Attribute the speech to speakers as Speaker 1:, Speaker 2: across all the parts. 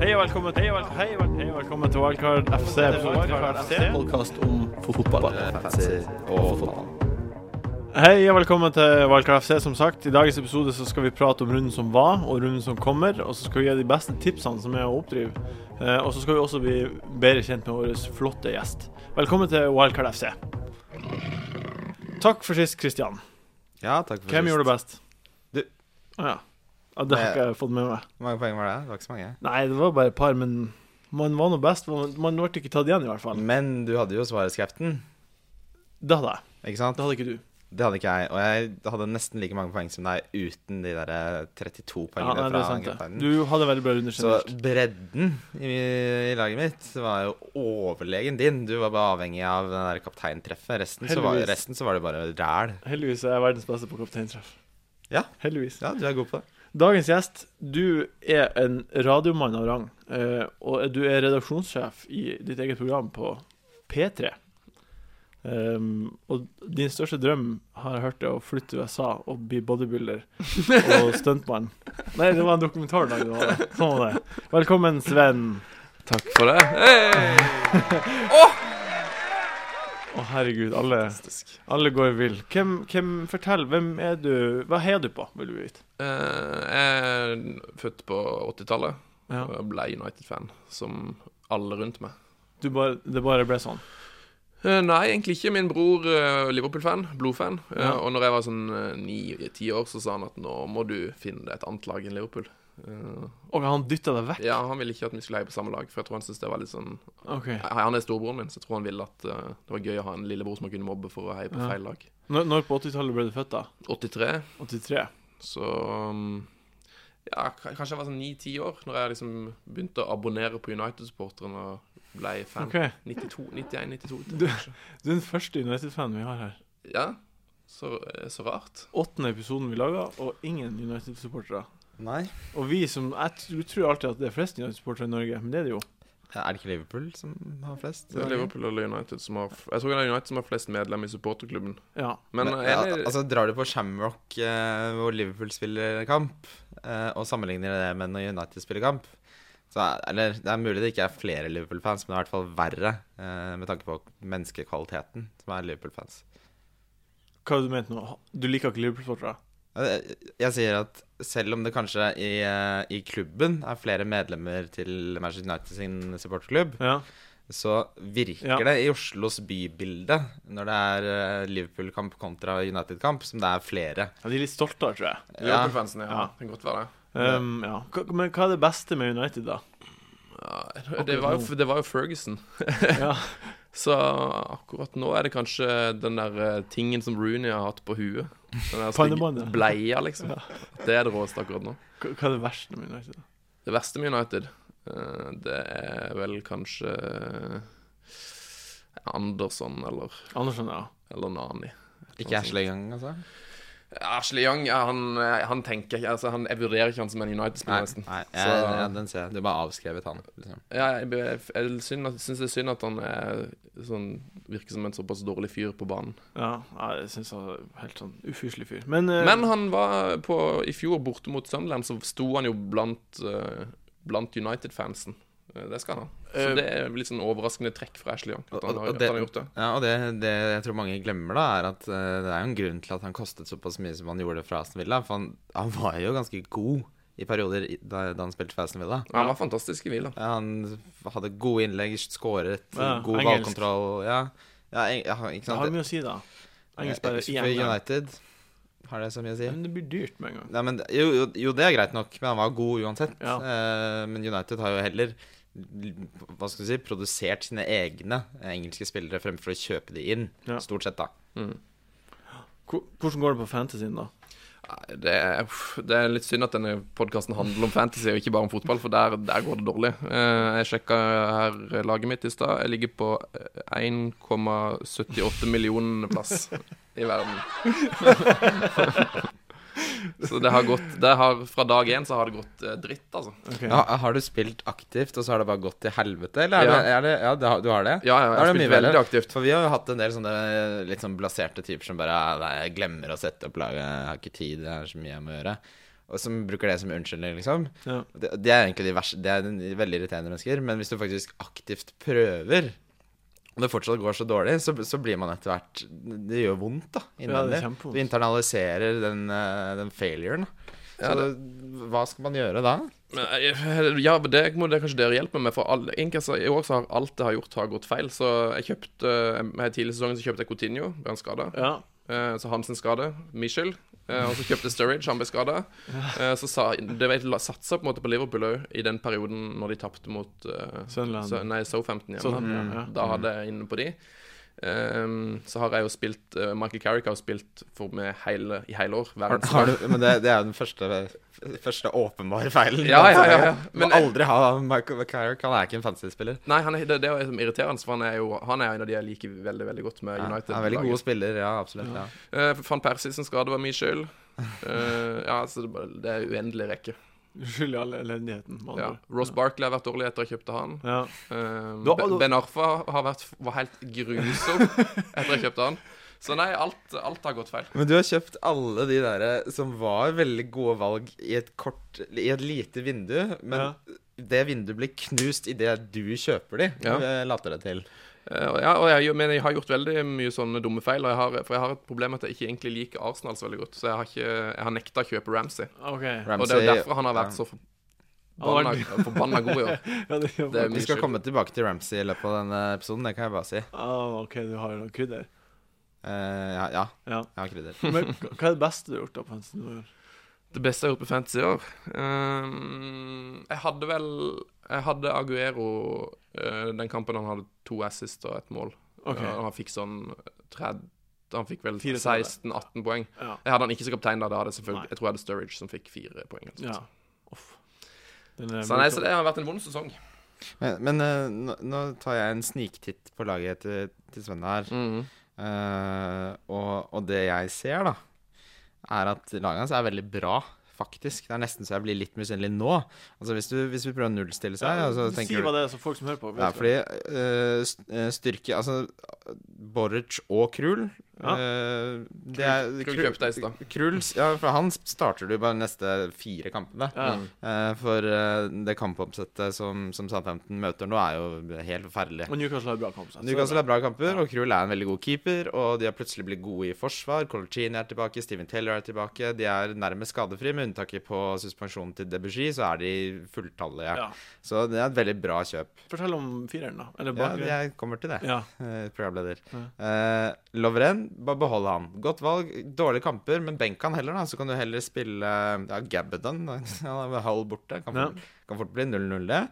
Speaker 1: Hei og velkommen til Wildcard Hei og vel- hei og velkommen til Wildcard FC.
Speaker 2: podkast om fotball.
Speaker 1: Hei og velkommen til Wildcard FC, som sagt. I dagens episode så skal vi prate om runden som var, og runden som kommer. Og så skal vi gi de beste tipsene som er å oppdrive. Eh, Og så skal vi også bli bedre kjent med vår flotte gjest. Velkommen til Wildcard FC. Takk for sist, Kristian.
Speaker 3: Ja, takk for
Speaker 1: Hvem
Speaker 3: sist.
Speaker 1: gjorde det best?
Speaker 3: Du.
Speaker 1: Å ja. ja. Det har
Speaker 3: Eh.
Speaker 1: ikke jeg fått med meg.
Speaker 3: Hvor mange poeng var det? Det var ikke så mange.
Speaker 1: Nei, det var bare et par, men man var nå best. Man man ble ikke tatt igjen, i hvert fall.
Speaker 3: Men du hadde jo svareskreften,
Speaker 1: Det hadde jeg.
Speaker 3: ikke sant?
Speaker 1: Det hadde ikke du.
Speaker 3: Det hadde ikke jeg. Og jeg hadde nesten like mange poeng som deg uten de der 32
Speaker 1: Ja, nei,
Speaker 3: poengene
Speaker 1: det er
Speaker 3: fra
Speaker 1: sant det.
Speaker 3: Angreparden.
Speaker 1: Du hadde veldig bra runder
Speaker 3: Så
Speaker 1: generelt.
Speaker 3: bredden i, i laget mitt var jo overlegen din. Du var bare avhengig av den der kapteintreffet. Resten, så var-
Speaker 1: Heldigvis.
Speaker 3: resten så var det bare ræl.
Speaker 1: Heldigvis er jeg verdens beste på kapteintreff.
Speaker 3: Ja.
Speaker 1: Heldigvis.
Speaker 3: Ja, du er god på det.
Speaker 1: Dagens gjest, du er en radiomann av rang, eh, og du er redaksjonssjef i ditt eget program på P3. Um, og din største drøm, har jeg hørt, er å flytte til USA og bli bodybuilder og stuntmann. Nei, det var en dokumentardag. Det var det. Sånn var det. Velkommen, Sven.
Speaker 4: Takk for det.
Speaker 1: Å, herregud, alle, alle går vill. Hvem, hvem, fortell, hvem er du? Hva heier du på, vil du vite?
Speaker 4: Eh, jeg er født på 80-tallet
Speaker 1: Ja.
Speaker 4: og ble United-fan, som alle rundt meg.
Speaker 1: Du bare, det bare ble sånn?
Speaker 4: Eh, nei, egentlig ikke. Min bror eh, Liverpool-fan, blodfan. Eh,
Speaker 1: Ja.
Speaker 4: Og når jeg var sånn ni-ti år, så sa han at nå må du finne deg et annet lag enn Liverpool. Eh,
Speaker 1: Og han dytta deg vekk?
Speaker 4: ja, Han ville ikke at vi skulle heie på samme lag, for jeg tror han syntes det var litt sånn
Speaker 1: Ok.
Speaker 4: Hei, Han er storebroren min, så jeg tror han ville at eh, det var gøy å ha en lillebror som han kunne mobbe for å heie på
Speaker 1: Ja.
Speaker 4: feil lag.
Speaker 1: Når, når på 80-tallet ble du født, da?
Speaker 4: 83
Speaker 1: 83?
Speaker 4: Så um, ja, k- kanskje jeg var sånn ni-ti år når jeg liksom begynte å abonnere på United-supporteren og ble fan.
Speaker 1: Ok.
Speaker 4: 92, 91, 92.
Speaker 1: Du-
Speaker 4: kanskje.
Speaker 1: Du er den første United-fanen vi har her.
Speaker 4: Ja, så, eh, så rart.
Speaker 1: Åttende episoden vi laga, og ingen United-supportere.
Speaker 3: Nei.
Speaker 1: Og vi som Jeg t- du tror alltid at det er flest United-supportere i Norge, men det er det jo.
Speaker 3: Er det ikke Liverpool som har flest?
Speaker 4: Det er Liverpool eller United som har f- Jeg tror det er United som har flest medlemmer i supporterklubben.
Speaker 1: Ja.
Speaker 4: Men,
Speaker 3: Men,
Speaker 4: eh,
Speaker 3: ja,
Speaker 4: jeg,
Speaker 3: altså Drar du på Shamrock, eh, hvor Liverpool spiller kamp, eh, og sammenligner det med når United spiller kamp så er, eller, Det er mulig det ikke er flere Liverpool-fans, men det er i hvert fall verre eh, med tanke på menneskekvaliteten som er Liverpool-fans.
Speaker 1: Hva har du ment nå? Du liker ikke Liverpool-supportere?
Speaker 3: Jeg, Eh, jeg sier at selv om det kanskje i, eh, i klubben er flere medlemmer til Manchester United sin supporterklubb,
Speaker 1: Ja.
Speaker 3: så virker
Speaker 1: Ja.
Speaker 3: det i Oslos bybilde, når det er eh, Liverpool-kamp kontra United-kamp, som det er flere.
Speaker 1: ja. De er litt stolte, tror jeg.
Speaker 4: Liverpool-fansen, ja.
Speaker 1: Ja.
Speaker 4: Det kan godt være det.
Speaker 1: Um, ja. Hva, men hva er det beste med United, da?
Speaker 4: Ja, det, var jo, det var jo Ferguson.
Speaker 1: Ja.
Speaker 4: Så akkurat nå er det kanskje den der eh, tingen som Rooney har hatt på huet. Den der stygge
Speaker 1: Pannebåndet.
Speaker 4: bleia, liksom. Det er det råeste akkurat nå.
Speaker 1: Hva, hva er det verste med United? da?
Speaker 4: Det verste med United, eh, det er vel kanskje Andersson eller,
Speaker 1: Andersen, ja.
Speaker 4: eller Nani.
Speaker 3: Ikke Ashley engang, altså?
Speaker 4: Ashley Young, ja, han, han tenker ikke altså, han, Jeg vurderer ikke han som en United-spiller,
Speaker 3: Nei,
Speaker 4: nesten.
Speaker 3: nei
Speaker 4: Så-
Speaker 3: jeg, jeg, den ser jeg. Du bare avskrevet han. Liksom.
Speaker 4: Ja, jeg, jeg, jeg syns det er synd at han er, sånn, virker som en såpass dårlig fyr på banen.
Speaker 1: Ja, ja, jeg syns han er helt sånn ufyselig fyr. Men, eh,
Speaker 4: Men han var på I fjor borte mot Sunderland, så sto han jo blant, eh, blant United-fansen. Eh, Det skal han ha. Så
Speaker 1: Eh,
Speaker 4: det er litt sånn overraskende trekk fra Ashley Young. At
Speaker 3: Og-
Speaker 4: han har,
Speaker 3: og
Speaker 4: at
Speaker 3: det-
Speaker 4: han har gjort det.
Speaker 3: Ja, og det, det jeg tror mange glemmer, da, er at eh, det er jo en grunn til at han kostet såpass mye som han gjorde fra Aston Villa. For han, han var jo ganske god i perioder i- da, da han spilte for Aston Villa.
Speaker 4: Han var fantastisk i hvil. da.
Speaker 3: Ja, Han hadde gode innlegg, skåret,
Speaker 1: Ja,
Speaker 3: god
Speaker 1: engelsk.
Speaker 3: ballkontroll. Ja, ja, eng, ja, ikke
Speaker 1: det har
Speaker 3: sant? Eh,
Speaker 1: mye å si, da. Engelsk bare i
Speaker 3: for
Speaker 1: England.
Speaker 3: United har det så mye å si.
Speaker 1: Men det blir dyrt med en gang.
Speaker 3: Nei, men, det- jo, jo, jo, det er greit nok, men han var god uansett.
Speaker 1: Ja.
Speaker 3: Eh, men United har jo heller hva skal du si, produsert sine egne eh, engelske spillere fremfor å kjøpe de inn.
Speaker 1: Ja.
Speaker 3: Stort sett, da.
Speaker 1: Hvor- Hvordan går det på fantasyen, da?
Speaker 4: Nei, Det, er- uff, det er litt synd at denne podkasten handler om fantasy og ikke bare om fotball, for der, der går det dårlig. Eh, Jeg sjekka her laget mitt i stad. Jeg ligger på eh, 1,78 millioner plass i verden. Så det har gått det har, Fra dag én så har det gått eh, dritt, altså.
Speaker 1: Ok.
Speaker 3: Ja, har du spilt aktivt, og så har det bare gått til helvete, eller? Er
Speaker 4: Ja.
Speaker 3: det, er det, ja, det har- du har det?
Speaker 4: Ja, ja, jeg
Speaker 3: Da
Speaker 4: har
Speaker 3: er det
Speaker 4: spilt
Speaker 3: mye
Speaker 4: veldig
Speaker 3: bedre.
Speaker 4: aktivt.
Speaker 3: For vi har jo hatt en del sånne litt sånn blaserte typer som bare "Ah, nei, jeg glemmer å sette opp laget, jeg har ikke tid, jeg har så mye jeg må gjøre. og som bruker det som unnskyldning, liksom.
Speaker 1: Ja.
Speaker 3: Det, det er egentlig de verste, det er de veldig irriterende mennesker, men hvis du faktisk aktivt prøver, og det fortsatt går så dårlig, så, så blir man etter hvert Det gjør vondt, da,
Speaker 1: Ja, det
Speaker 3: innvendig.
Speaker 1: er
Speaker 3: du
Speaker 1: kjempevondt.
Speaker 3: internaliserer den, eh, den failuren. da. Så
Speaker 4: Ja,
Speaker 3: hva skal man gjøre da?
Speaker 4: Men, eh, Ja, men det må det kanskje dere hjelpe meg med. For alle, egentlig, altså, I år så har alt jeg har gjort, har gått feil. Så jeg kjøpte eh, Tidlig i sesongen så kjøpte jeg Coutinho, ble han skada.
Speaker 1: Ja.
Speaker 4: Eh, Så Hansen skade, Michel. eh, Og så kjøpte Sturridge, han ble skada. Så sa, det var, la- satsa på en måte på Liverpool òg, i den perioden når de tapte mot eh,
Speaker 1: Sunderland.
Speaker 4: Sø- Nei, So15 hjemme.
Speaker 1: Sunderland, ja.
Speaker 4: Da hadde jeg inne på de. Ehm, så har jeg jo spilt eh, Michael Carrick har jo spilt for meg hele, i hele år. Hver eneste
Speaker 3: Har du, Altså, men det, det er jo den første, første åpenbare feilen.
Speaker 4: Ja, ja, ja, ja.
Speaker 3: Men
Speaker 4: Men-
Speaker 3: Må aldri ha Michael McCarrick. Han er ikke en fantasyspiller.
Speaker 4: Nei, han er, det, det er jo liksom irriterende, for han er jo Han er en av de jeg liker veldig veldig godt med
Speaker 3: Ja, han
Speaker 4: United.
Speaker 3: er veldig god spiller, ja, absolutt. Ja.
Speaker 4: Eh, Van Persie sin skade var min skyld. Eh, ja, så det, bare- det er uendelig rekke.
Speaker 1: Skyld i all elendigheten. med andre
Speaker 4: Ja.
Speaker 1: ord.
Speaker 4: Ross Barkley har vært dårlig etter jeg kjøpte han.
Speaker 1: Ja.
Speaker 4: Eh,
Speaker 1: Da-
Speaker 4: Ben-
Speaker 1: da-
Speaker 4: ben Arfa har vært, var helt grusom etter jeg kjøpte han. Så nei, alt, alt har gått feil.
Speaker 3: Men du har kjøpt alle de der eh, som var veldig gode valg i et kort I et lite vindu, men
Speaker 1: Ja.
Speaker 3: det vinduet blir knust idet du kjøper de,
Speaker 4: Ja.
Speaker 3: eh, later det til.
Speaker 4: Eh, og ja, og jeg, gjør- men jeg har gjort veldig mye sånne dumme feil, og jeg har, for jeg har et problem med at jeg ikke egentlig liker Arsenal så veldig godt. Så jeg har, ikke, jeg har nekta å kjøpe Ramsey.
Speaker 1: OK.
Speaker 4: Og det er jo derfor han har vært så forbanna
Speaker 1: Han
Speaker 4: forbanna god i år.
Speaker 1: Ja, det gjør
Speaker 4: Det er
Speaker 1: faktisk-
Speaker 3: Vi skal komme tilbake til Ramsey i løpet av denne episoden, det kan jeg bare si.
Speaker 1: ah, OK, du har noe krydder.
Speaker 3: Eh, ja, ja,
Speaker 1: Ja.
Speaker 3: jeg har krydder.
Speaker 1: Men hva- hva er det beste du har gjort, da, Pensen? Du har-
Speaker 4: Det beste jeg har gjort på Fantasy i år Ehm, Jeg hadde vel Jeg hadde Aguero eh, den kampen han hadde to assist og et mål.
Speaker 1: OK.
Speaker 4: Eh, han fikk sånn 30 Han fikk vel
Speaker 1: 34.
Speaker 4: 16-18 poeng.
Speaker 1: Ja.
Speaker 4: Jeg hadde han ikke som kaptein da. da hadde jeg, selvfølgelig-
Speaker 1: Nei.
Speaker 4: jeg tror jeg hadde Sturridge som fikk fire poeng. eller
Speaker 1: ja.
Speaker 4: sånt.
Speaker 1: Uff. Den er
Speaker 4: Så, nei, så
Speaker 1: brutal.
Speaker 4: det har vært en vond sesong.
Speaker 3: Men, men eh, nå, nå tar jeg en sniktitt på laget til, til Sven her.
Speaker 4: Mm.
Speaker 3: Eh, og, og det jeg ser, da, er at laget hans er veldig bra, faktisk. Det er nesten så jeg blir litt misunnelig nå. Altså hvis, du, hvis vi prøver å nullstille seg og så
Speaker 1: si
Speaker 3: tenker du,
Speaker 1: hva det er, så folk som hører på. vet
Speaker 3: ja,
Speaker 1: hva.
Speaker 3: fordi eh, st- eh, styrke Altså, Boric og Krul
Speaker 1: Ja.
Speaker 3: eh, det er,
Speaker 4: Krul
Speaker 3: Krul-
Speaker 4: kjøpte jeg i stad.
Speaker 3: Krul, ja, for han starter du bare neste fire kampene.
Speaker 1: ja.
Speaker 3: Eh, for eh, det kampoppsettet som, som Southampton møter nå, er jo helt forferdelig.
Speaker 1: Og Newcastle har bra kamp. så-
Speaker 3: Newcastle har bra kamper, og Krul er en veldig god keeper. Og de har plutselig blitt gode i forsvar. Coloccini er tilbake, Steven Taylor er tilbake. De er nærmest skadefri, med unntaket på suspensjonen til Debussy, så er de fulltallige.
Speaker 1: Ja.
Speaker 3: Så det er et veldig bra kjøp.
Speaker 1: Fortell om fireren, da. Eller
Speaker 3: Ja,
Speaker 1: bakre.
Speaker 3: jeg kommer til det.
Speaker 1: Ja.
Speaker 3: eh, Programleder.
Speaker 1: Ja.
Speaker 3: Eh, Lovren, bare behold han. Godt valg, dårlige kamper, men benk han heller, da. Så kan du heller spille ja, Gabadon. Han er halv borte. Kan fort, kan fort bli 0-0, det.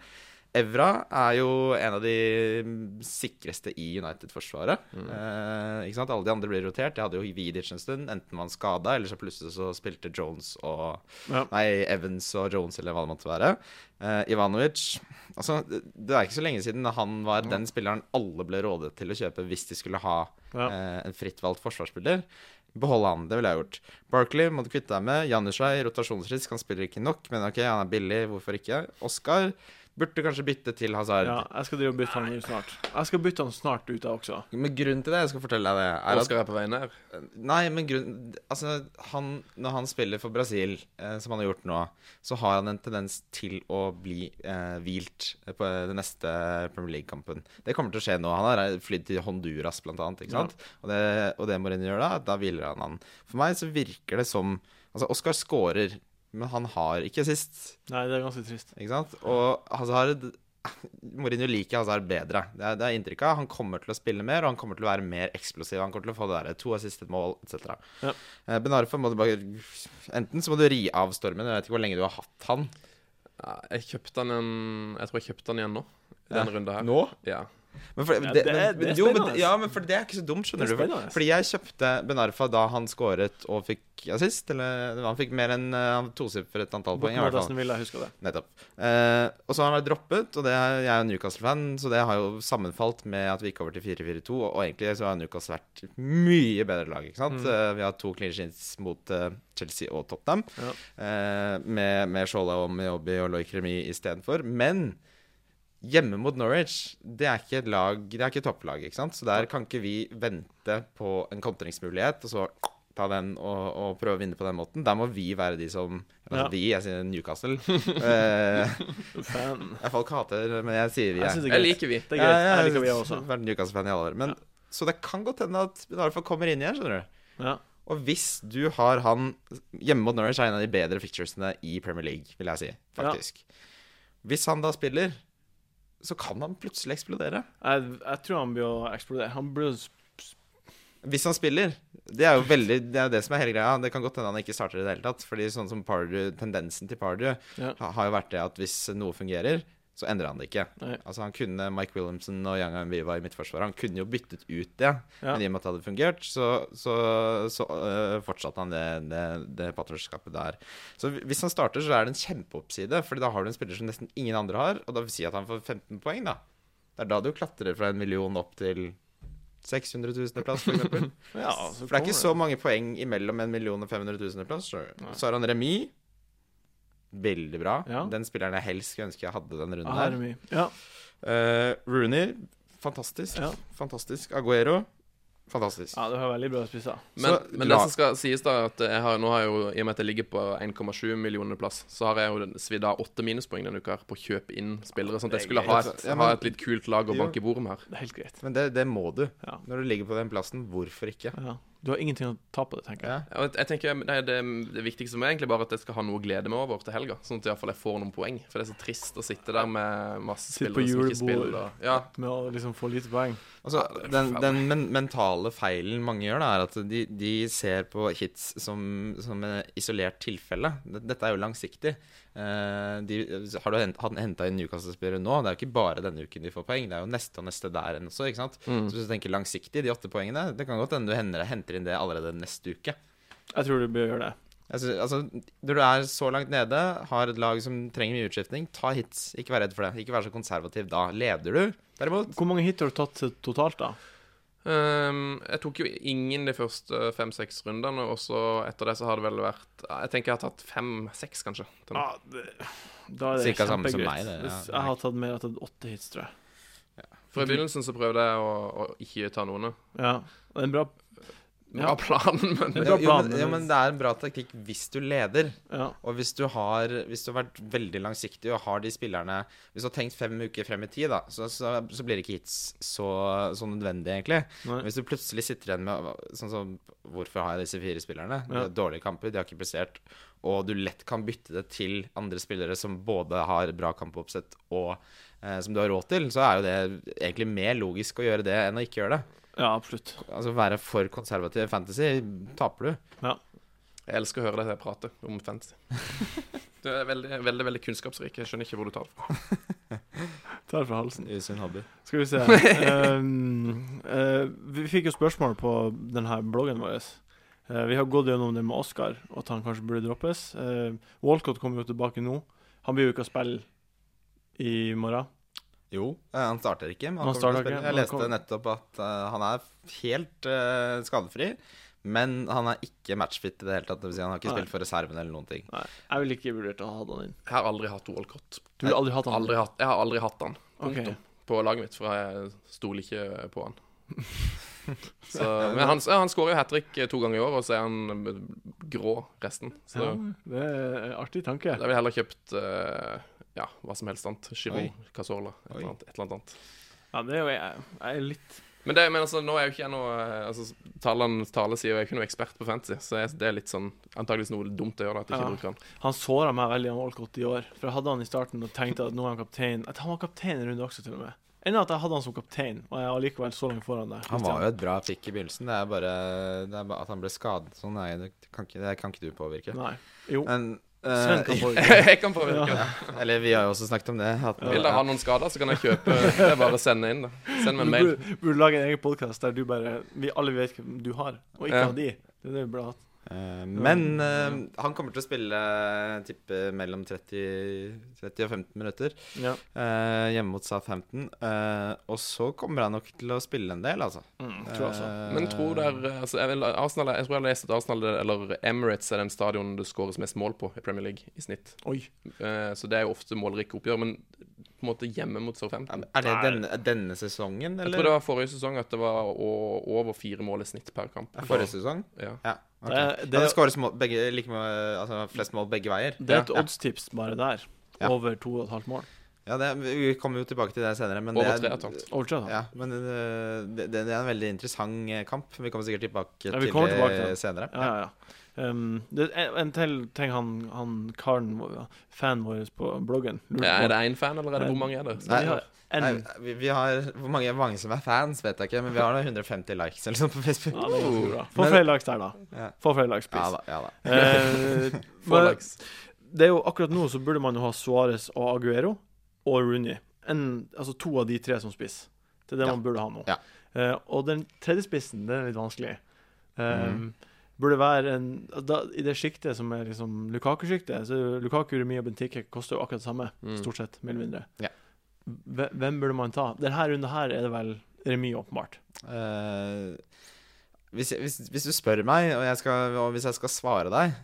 Speaker 3: Evra er jo en av de mm, sikreste i United-forsvaret.
Speaker 1: Mm.
Speaker 3: Eh, ikke sant? Alle de andre blir rotert. Jeg hadde jo Vidic en stund. Enten man skada, eller så plutselig så spilte Jones og
Speaker 1: Ja.
Speaker 3: Nei, Evans og Jones, eller hva det måtte være. Eh, Ivanovic Altså, det det er ikke så lenge siden han var den spilleren alle ble rådet til å kjøpe hvis de skulle ha
Speaker 1: Ja.
Speaker 3: eh, en fritt valgt forsvarsspiller. Beholde han, det ville jeg gjort. Barkley må du kvitte deg med. Janushai, rotasjonsrisk, han spiller ikke nok, men ok, han er billig, hvorfor ikke? Oskar burde kanskje bytte til Hazard.
Speaker 1: ja, jeg skal drive og bytte han inn snart. Jeg skal bytte han snart ut, jeg også.
Speaker 3: Men grunnen til det, jeg skal fortelle deg det, er at
Speaker 4: Oskar er på vei ned.
Speaker 3: Nei, men grunn, altså, han, når han spiller for Brasil, eh, som han har gjort nå, så har han en tendens til å bli eh, hvilt på eh, den neste Premier League-kampen. Det kommer til å skje nå. Han har eh, flydd til Honduras, blant annet. Ikke sant? Og, det, og det Mourinho gjør da, da hviler han han. For meg så virker det som Altså, Oscar scorer, men han har ikke sist.
Speaker 1: Nei, det er ganske trist.
Speaker 3: Ikke sant? Og Hazard Mourinho liker Hazard bedre. Det er, det er inntrykket. av. Han kommer til å spille mer, og han kommer til å være mer eksplosiv. Han kommer til å få det der, to assist, et mål, etc.
Speaker 1: Ja.
Speaker 3: Eh, Ben Arfa må du bare Enten så må du ri av stormen, jeg vet ikke hvor lenge du har hatt han.
Speaker 4: Ja, jeg kjøpte han en Jeg tror jeg kjøpte han igjen nå. I denne runden her.
Speaker 3: Nå?
Speaker 4: Ja.
Speaker 3: Men for,
Speaker 1: Ja,
Speaker 3: det,
Speaker 1: det er-
Speaker 3: men,
Speaker 1: det er
Speaker 3: jo, men,
Speaker 1: spennende.
Speaker 3: ja, men for det er ikke så dumt, skjønner
Speaker 1: Det
Speaker 3: du.
Speaker 1: er
Speaker 3: For,
Speaker 1: spennende.
Speaker 3: fordi jeg kjøpte Ben Arfa da han scoret og fikk assist. Eller han fikk mer enn uh, tosifret antall poeng, i hvert fall.
Speaker 1: Bortenbergdassen ville jeg huske det.
Speaker 3: Nettopp. Eh, og så har han vært droppet, og det er, jeg er jo Newcastle-fan, så det har jo sammenfalt med at vi gikk over til 4-4-2, og, og egentlig så har Newcastle vært mye bedre lag, ikke sant? Eh, vi har to clean sheets mot eh, Chelsea og Tottenham, eh, med, med Shola og Miobi og Loic Remy istedenfor, men Hjemme mot Norwich, det er ikke et lag Det er ikke et topplag, ikke sant? Så der kan ikke vi vente på en kontringsmulighet, og så ta den og, og prøve å vinne på den måten. Der må vi være de som altså
Speaker 1: Ja.
Speaker 3: Vi, jeg sier Newcastle. Eh,
Speaker 1: Fan.
Speaker 3: jeg folk hater, men jeg sier vi.
Speaker 1: Jeg synes det
Speaker 4: Jeg liker vi.
Speaker 1: Det er greit. Jeg liker vi også.
Speaker 3: Vært Newcastle-fan i alle år. Men, Så det kan godt hende at Benarfa kommer inn igjen, skjønner du.
Speaker 1: Ja.
Speaker 3: Og hvis du har han hjemme mot Norwich, er en av de bedre fixturesene i Premier League, vil jeg si, faktisk. Hvis han da spiller, så kan han plutselig eksplodere.
Speaker 1: Jeg, jeg tror han blir å eksplodere. Han blir å sp-
Speaker 3: Hvis han spiller, det er jo veldig Det er jo det som er hele greia. Det kan godt hende han ikke starter i det hele tatt. Fordi sånn som Pardew, tendensen til Pardew
Speaker 1: Ja.
Speaker 3: ha- har jo vært det at hvis noe fungerer, så endrer han det ikke.
Speaker 1: Nei.
Speaker 3: Altså Han kunne Mike Williamson og Yanga Mbiva i midtforsvaret. Han kunne jo byttet ut det, men i og med at det hadde fungert, så, så, så øh, fortsatte han det, det, det partnerskapet der. Så hvis han starter, så er det en kjempeoppside, Fordi da har du en spiller som nesten ingen andre har, og da vil si at han får 15 poeng, da. Det er da du klatrer fra en million opp til 600 000-plass, for eksempel.
Speaker 1: Ja, så
Speaker 3: For det er
Speaker 1: kommer
Speaker 3: ikke så mange poeng imellom en million og 500 000 plass. Så, så har han remis. Veldig bra.
Speaker 1: Ja.
Speaker 3: Den spilleren jeg helst skulle ønske jeg hadde den runden
Speaker 1: Ah, her
Speaker 3: her.
Speaker 1: er mye. Ja.
Speaker 3: Eh, Rooney, fantastisk.
Speaker 1: Ja.
Speaker 3: Fantastisk. Aguero, fantastisk.
Speaker 1: ja, du har veldig bra spisser.
Speaker 4: Men,
Speaker 3: Så
Speaker 4: men det
Speaker 3: la-
Speaker 4: som skal sies, da, er at jeg har, nå har jeg jo, i og med at jeg ligger på 1,7 millioner plass, så har jeg jo den- svidd av åtte minuspoeng denne uka her på å kjøpe inn spillere. Sånn at jeg skulle ha et,
Speaker 3: Ja, men-
Speaker 4: ha et litt kult lag å
Speaker 3: Jo.
Speaker 4: banke i bordet med her.
Speaker 1: Det er helt greit.
Speaker 3: Men det, det må du.
Speaker 1: Ja.
Speaker 3: Når du ligger på den plassen, hvorfor ikke?
Speaker 1: Ja. Du har ingenting å ta på det, tenker jeg.
Speaker 3: Ja.
Speaker 4: Ja, og Jeg tenker nei, det, det viktigste for meg er egentlig bare at jeg skal ha noe å glede meg over til helga. Sånn at i hvert fall jeg får noen poeng. For det er så trist å sitte der med masse
Speaker 1: Sitte
Speaker 4: spillere
Speaker 1: på
Speaker 4: som
Speaker 1: julebord.
Speaker 4: ikke spiller. Ja,
Speaker 1: Med å liksom få lite poeng.
Speaker 3: Altså,
Speaker 4: Ja, det er
Speaker 3: den,
Speaker 4: forferdelig.
Speaker 3: den men mentale feilen mange gjør, da, er at de, de ser på hits som, som et isolert tilfelle. D- Dette er jo langsiktig. Eh, de, har du henta inn Newcastle-spillere nå? Det er jo ikke bare denne uken de får poeng, det er jo neste og neste der igjen også. Ikke sant? Så hvis du tenker langsiktig, de åtte poengene, det kan godt hende du hender- henter inn det allerede neste uke.
Speaker 1: Jeg tror du bør gjøre det.
Speaker 3: Jeg synes- altså, når du er så langt nede, har et lag som trenger mye utskiftning, ta hits. Ikke vær redd for det. Ikke vær så konservativ da. Leder du, derimot,
Speaker 1: Hvor mange hit har du tatt totalt, da?
Speaker 4: Ehm, jeg tok jo ingen de første fem-seks rundene, og så etter det så har det vel vært Jeg tenker jeg har tatt fem-seks, kanskje. til nå.
Speaker 1: Ja, Ah, det, da er det
Speaker 3: Sånn. Cirka samme som
Speaker 1: kjempegreit.
Speaker 3: meg, det, ja.
Speaker 1: Hvis jeg har tatt mer, jeg har tatt åtte hits, tror jeg.
Speaker 4: For i begynnelsen så prøvde jeg å, å ikke ta noen.
Speaker 1: Ja. Det er en bra
Speaker 4: Bra
Speaker 1: Ja.
Speaker 4: plan, men
Speaker 1: Det er
Speaker 3: Jo,
Speaker 1: bra
Speaker 3: jo,
Speaker 1: plan,
Speaker 3: men,
Speaker 1: men-
Speaker 3: jo, men det er en bra taktikk hvis du leder.
Speaker 1: Ja.
Speaker 3: Og hvis du har Hvis du har vært veldig langsiktig og har de spillerne Hvis du har tenkt fem uker frem i tid, da, så, så, så blir det ikke hits så, så nødvendig, egentlig.
Speaker 1: Nei.
Speaker 3: Hvis du plutselig sitter igjen med Sånn som Hvorfor har jeg disse fire spillerne? Det
Speaker 1: Ja.
Speaker 3: er Dårlige kamper, de har ikke prestert. Og du lett kan bytte det til andre spillere som både har bra kampoppsett og eh, som du har råd til, så er jo det egentlig mer logisk å gjøre det enn å ikke gjøre det.
Speaker 1: ja, absolutt.
Speaker 3: Altså være for konservativ i fantasy, taper du.
Speaker 4: jeg elsker å høre deg prate om fantasy. Du er veldig, veldig veldig kunnskapsrik. Jeg skjønner ikke hvor du tar det fra.
Speaker 1: Tar fra halsen.
Speaker 3: Usunn hobby.
Speaker 1: Skal vi se. Ehm, eh, vi fikk jo spørsmål på denne bloggen vår. Eh, vi har gått gjennom det med Oscar, og at han kanskje burde droppes. Eh, Walcott kommer jo tilbake nå. Han blir jo ikke å spille i morgen.
Speaker 3: Jo, eh, han starter ikke. Men han
Speaker 1: Han
Speaker 3: kommer til å
Speaker 1: starter
Speaker 3: spille.
Speaker 1: ikke,
Speaker 3: Jeg
Speaker 1: men han
Speaker 3: leste
Speaker 1: kommer-
Speaker 3: nettopp at eh, han er helt eh, skadefri. Men han er ikke matchfit i det hele tatt. Det vil si han har ikke
Speaker 1: Nei.
Speaker 3: spilt for reserven eller noen ting.
Speaker 1: Nei, jeg ville ikke vurdert å ha han inn.
Speaker 4: Jeg har aldri hatt Walcott.
Speaker 1: Du ville aldri hatt han
Speaker 4: Aldri hatt, jeg har aldri hatt han.
Speaker 1: Ok.
Speaker 4: Punktum. På laget mitt, for jeg stoler ikke på han. Så, men han, ja, han skårer jo hat trick to ganger i år, og så er han eh, grå resten. Så
Speaker 1: Ja, det er en artig tanke.
Speaker 4: da ville jeg heller kjøpt eh, ja, hva som helst annet. Giroud,
Speaker 3: Oi.
Speaker 4: Casola, et
Speaker 3: Oi.
Speaker 4: eller annet. Et eller annet.
Speaker 1: Ja, det er jo jeg, jeg er litt
Speaker 4: Men, det, men altså, nå er jo ikke jeg noe eh, altså, Tallene tale sier jo jeg er ikke noe ekspert på fantasy, så jeg, det er litt sånn antakeligvis noe dumt å gjøre da, at jeg
Speaker 1: Ja.
Speaker 4: ikke bruker han.
Speaker 1: Han såra meg veldig, han Walcott, i år. For jeg hadde han i starten og tenkte at nå er han kaptein. At han var kaptein i runde også, til og med. Enda at jeg hadde han som kaptein, og jeg er allikevel så langt foran deg.
Speaker 3: Han var jo et bra pick i begynnelsen. Det er bare, det er bare at han ble skadet sånn. Nei, det kan ikke, det kan ikke du påvirke.
Speaker 1: Nei. Jo.
Speaker 3: Men eh,
Speaker 1: Sven kan få
Speaker 4: jeg kan påvirke det.
Speaker 3: Eller vi har jo også snakket om det. At,
Speaker 4: Vil dere ha noen skader, så kan jeg kjøpe. Det er bare å sende inn, da. Send meg en
Speaker 1: Du
Speaker 4: mail.
Speaker 1: burde, burde lage en egen podkast der du bare Vi alle vet hvem du har, og ikke
Speaker 4: Ja.
Speaker 1: har de. Det er det vi burde hatt.
Speaker 3: Eh, men eh, han kommer til å spille eh, tippe mellom 30, 30 og 15 minutter.
Speaker 1: Ja.
Speaker 3: eh, hjemme mot Southampton. eh, og så kommer han nok til å spille en del, altså.
Speaker 1: Mm, tror jeg også.
Speaker 3: Eh,
Speaker 4: Men tror der altså, jeg, vil, Arsenal, jeg tror jeg har lest at Arsenal eller Emirates er den stadion det skåres mest mål på i Premier League i snitt.
Speaker 1: Oi.
Speaker 4: Eh, så det er jo ofte målrike oppgjør. Men på en måte hjemme mot Southampton.
Speaker 3: Er det denne, denne sesongen,
Speaker 4: Jeg
Speaker 3: eller?
Speaker 4: tror det var forrige sesong at det var å- over fire mål i snitt per kamp.
Speaker 3: Ja, Forrige sesong?
Speaker 4: Ja.
Speaker 3: Ja. ok.
Speaker 1: Det er- det
Speaker 3: ja,
Speaker 1: er-
Speaker 3: det skåres mål, begge, like mål, altså flest mål begge veier.
Speaker 1: Det er et
Speaker 3: ja.
Speaker 1: oddstips bare der.
Speaker 3: Ja.
Speaker 1: Over to og et halvt mål.
Speaker 3: Ja, det, vi kommer jo tilbake til det senere, men det
Speaker 4: Over tre og et
Speaker 3: er,
Speaker 4: halvt.
Speaker 1: Over tre, da.
Speaker 3: ja, men øh, det, det det er en veldig interessant eh, kamp. Vi kommer sikkert tilbake
Speaker 1: Ja, vi
Speaker 3: til
Speaker 1: kommer
Speaker 3: det
Speaker 1: tilbake til det.
Speaker 3: senere.
Speaker 1: Ja, ja, ja. Um, det er en til ting han, han karen, vår- fanen vår på bloggen, lurer
Speaker 4: Ja, er
Speaker 1: på.
Speaker 4: det én fan, eller er det hvor mange er det?
Speaker 1: Vi har en,
Speaker 3: Nei, vi, vi har hvor mange, hvor mange som er fans, vet jeg ikke, men vi har da 150 likes eller sånn på Facebook.
Speaker 1: Ja, det var ganske bra. Få
Speaker 3: Men-
Speaker 1: flere likes der, da.
Speaker 3: Ja.
Speaker 1: Få flere likes,
Speaker 3: Ja
Speaker 1: please.
Speaker 3: da. ja da
Speaker 1: Eh,
Speaker 4: Få
Speaker 1: men
Speaker 4: likes.
Speaker 1: det er jo akkurat nå så burde man jo ha Suárez og Aguero og Rooney. En, altså to av de tre som spiss. Det er det
Speaker 3: Ja.
Speaker 1: man burde ha nå.
Speaker 3: Ja.
Speaker 1: Eh, og den tredje spissen, det er litt vanskelig. Eh,
Speaker 3: Mhm.
Speaker 1: Burde være en da, I det sjiktet som er liksom Lukaku-sjiktet, så er jo Lukaku, Remi og Bentike koster jo akkurat det samme,
Speaker 4: Mm.
Speaker 1: stort sett, mer eller mindre.
Speaker 3: Ja.
Speaker 1: Hve- Hvem burde man ta? Denne runden her er det vel Remi, åpenbart.
Speaker 3: Eh, hvis, jeg- hvis, hvis du spør meg, og, jeg skal, og hvis jeg skal svare deg,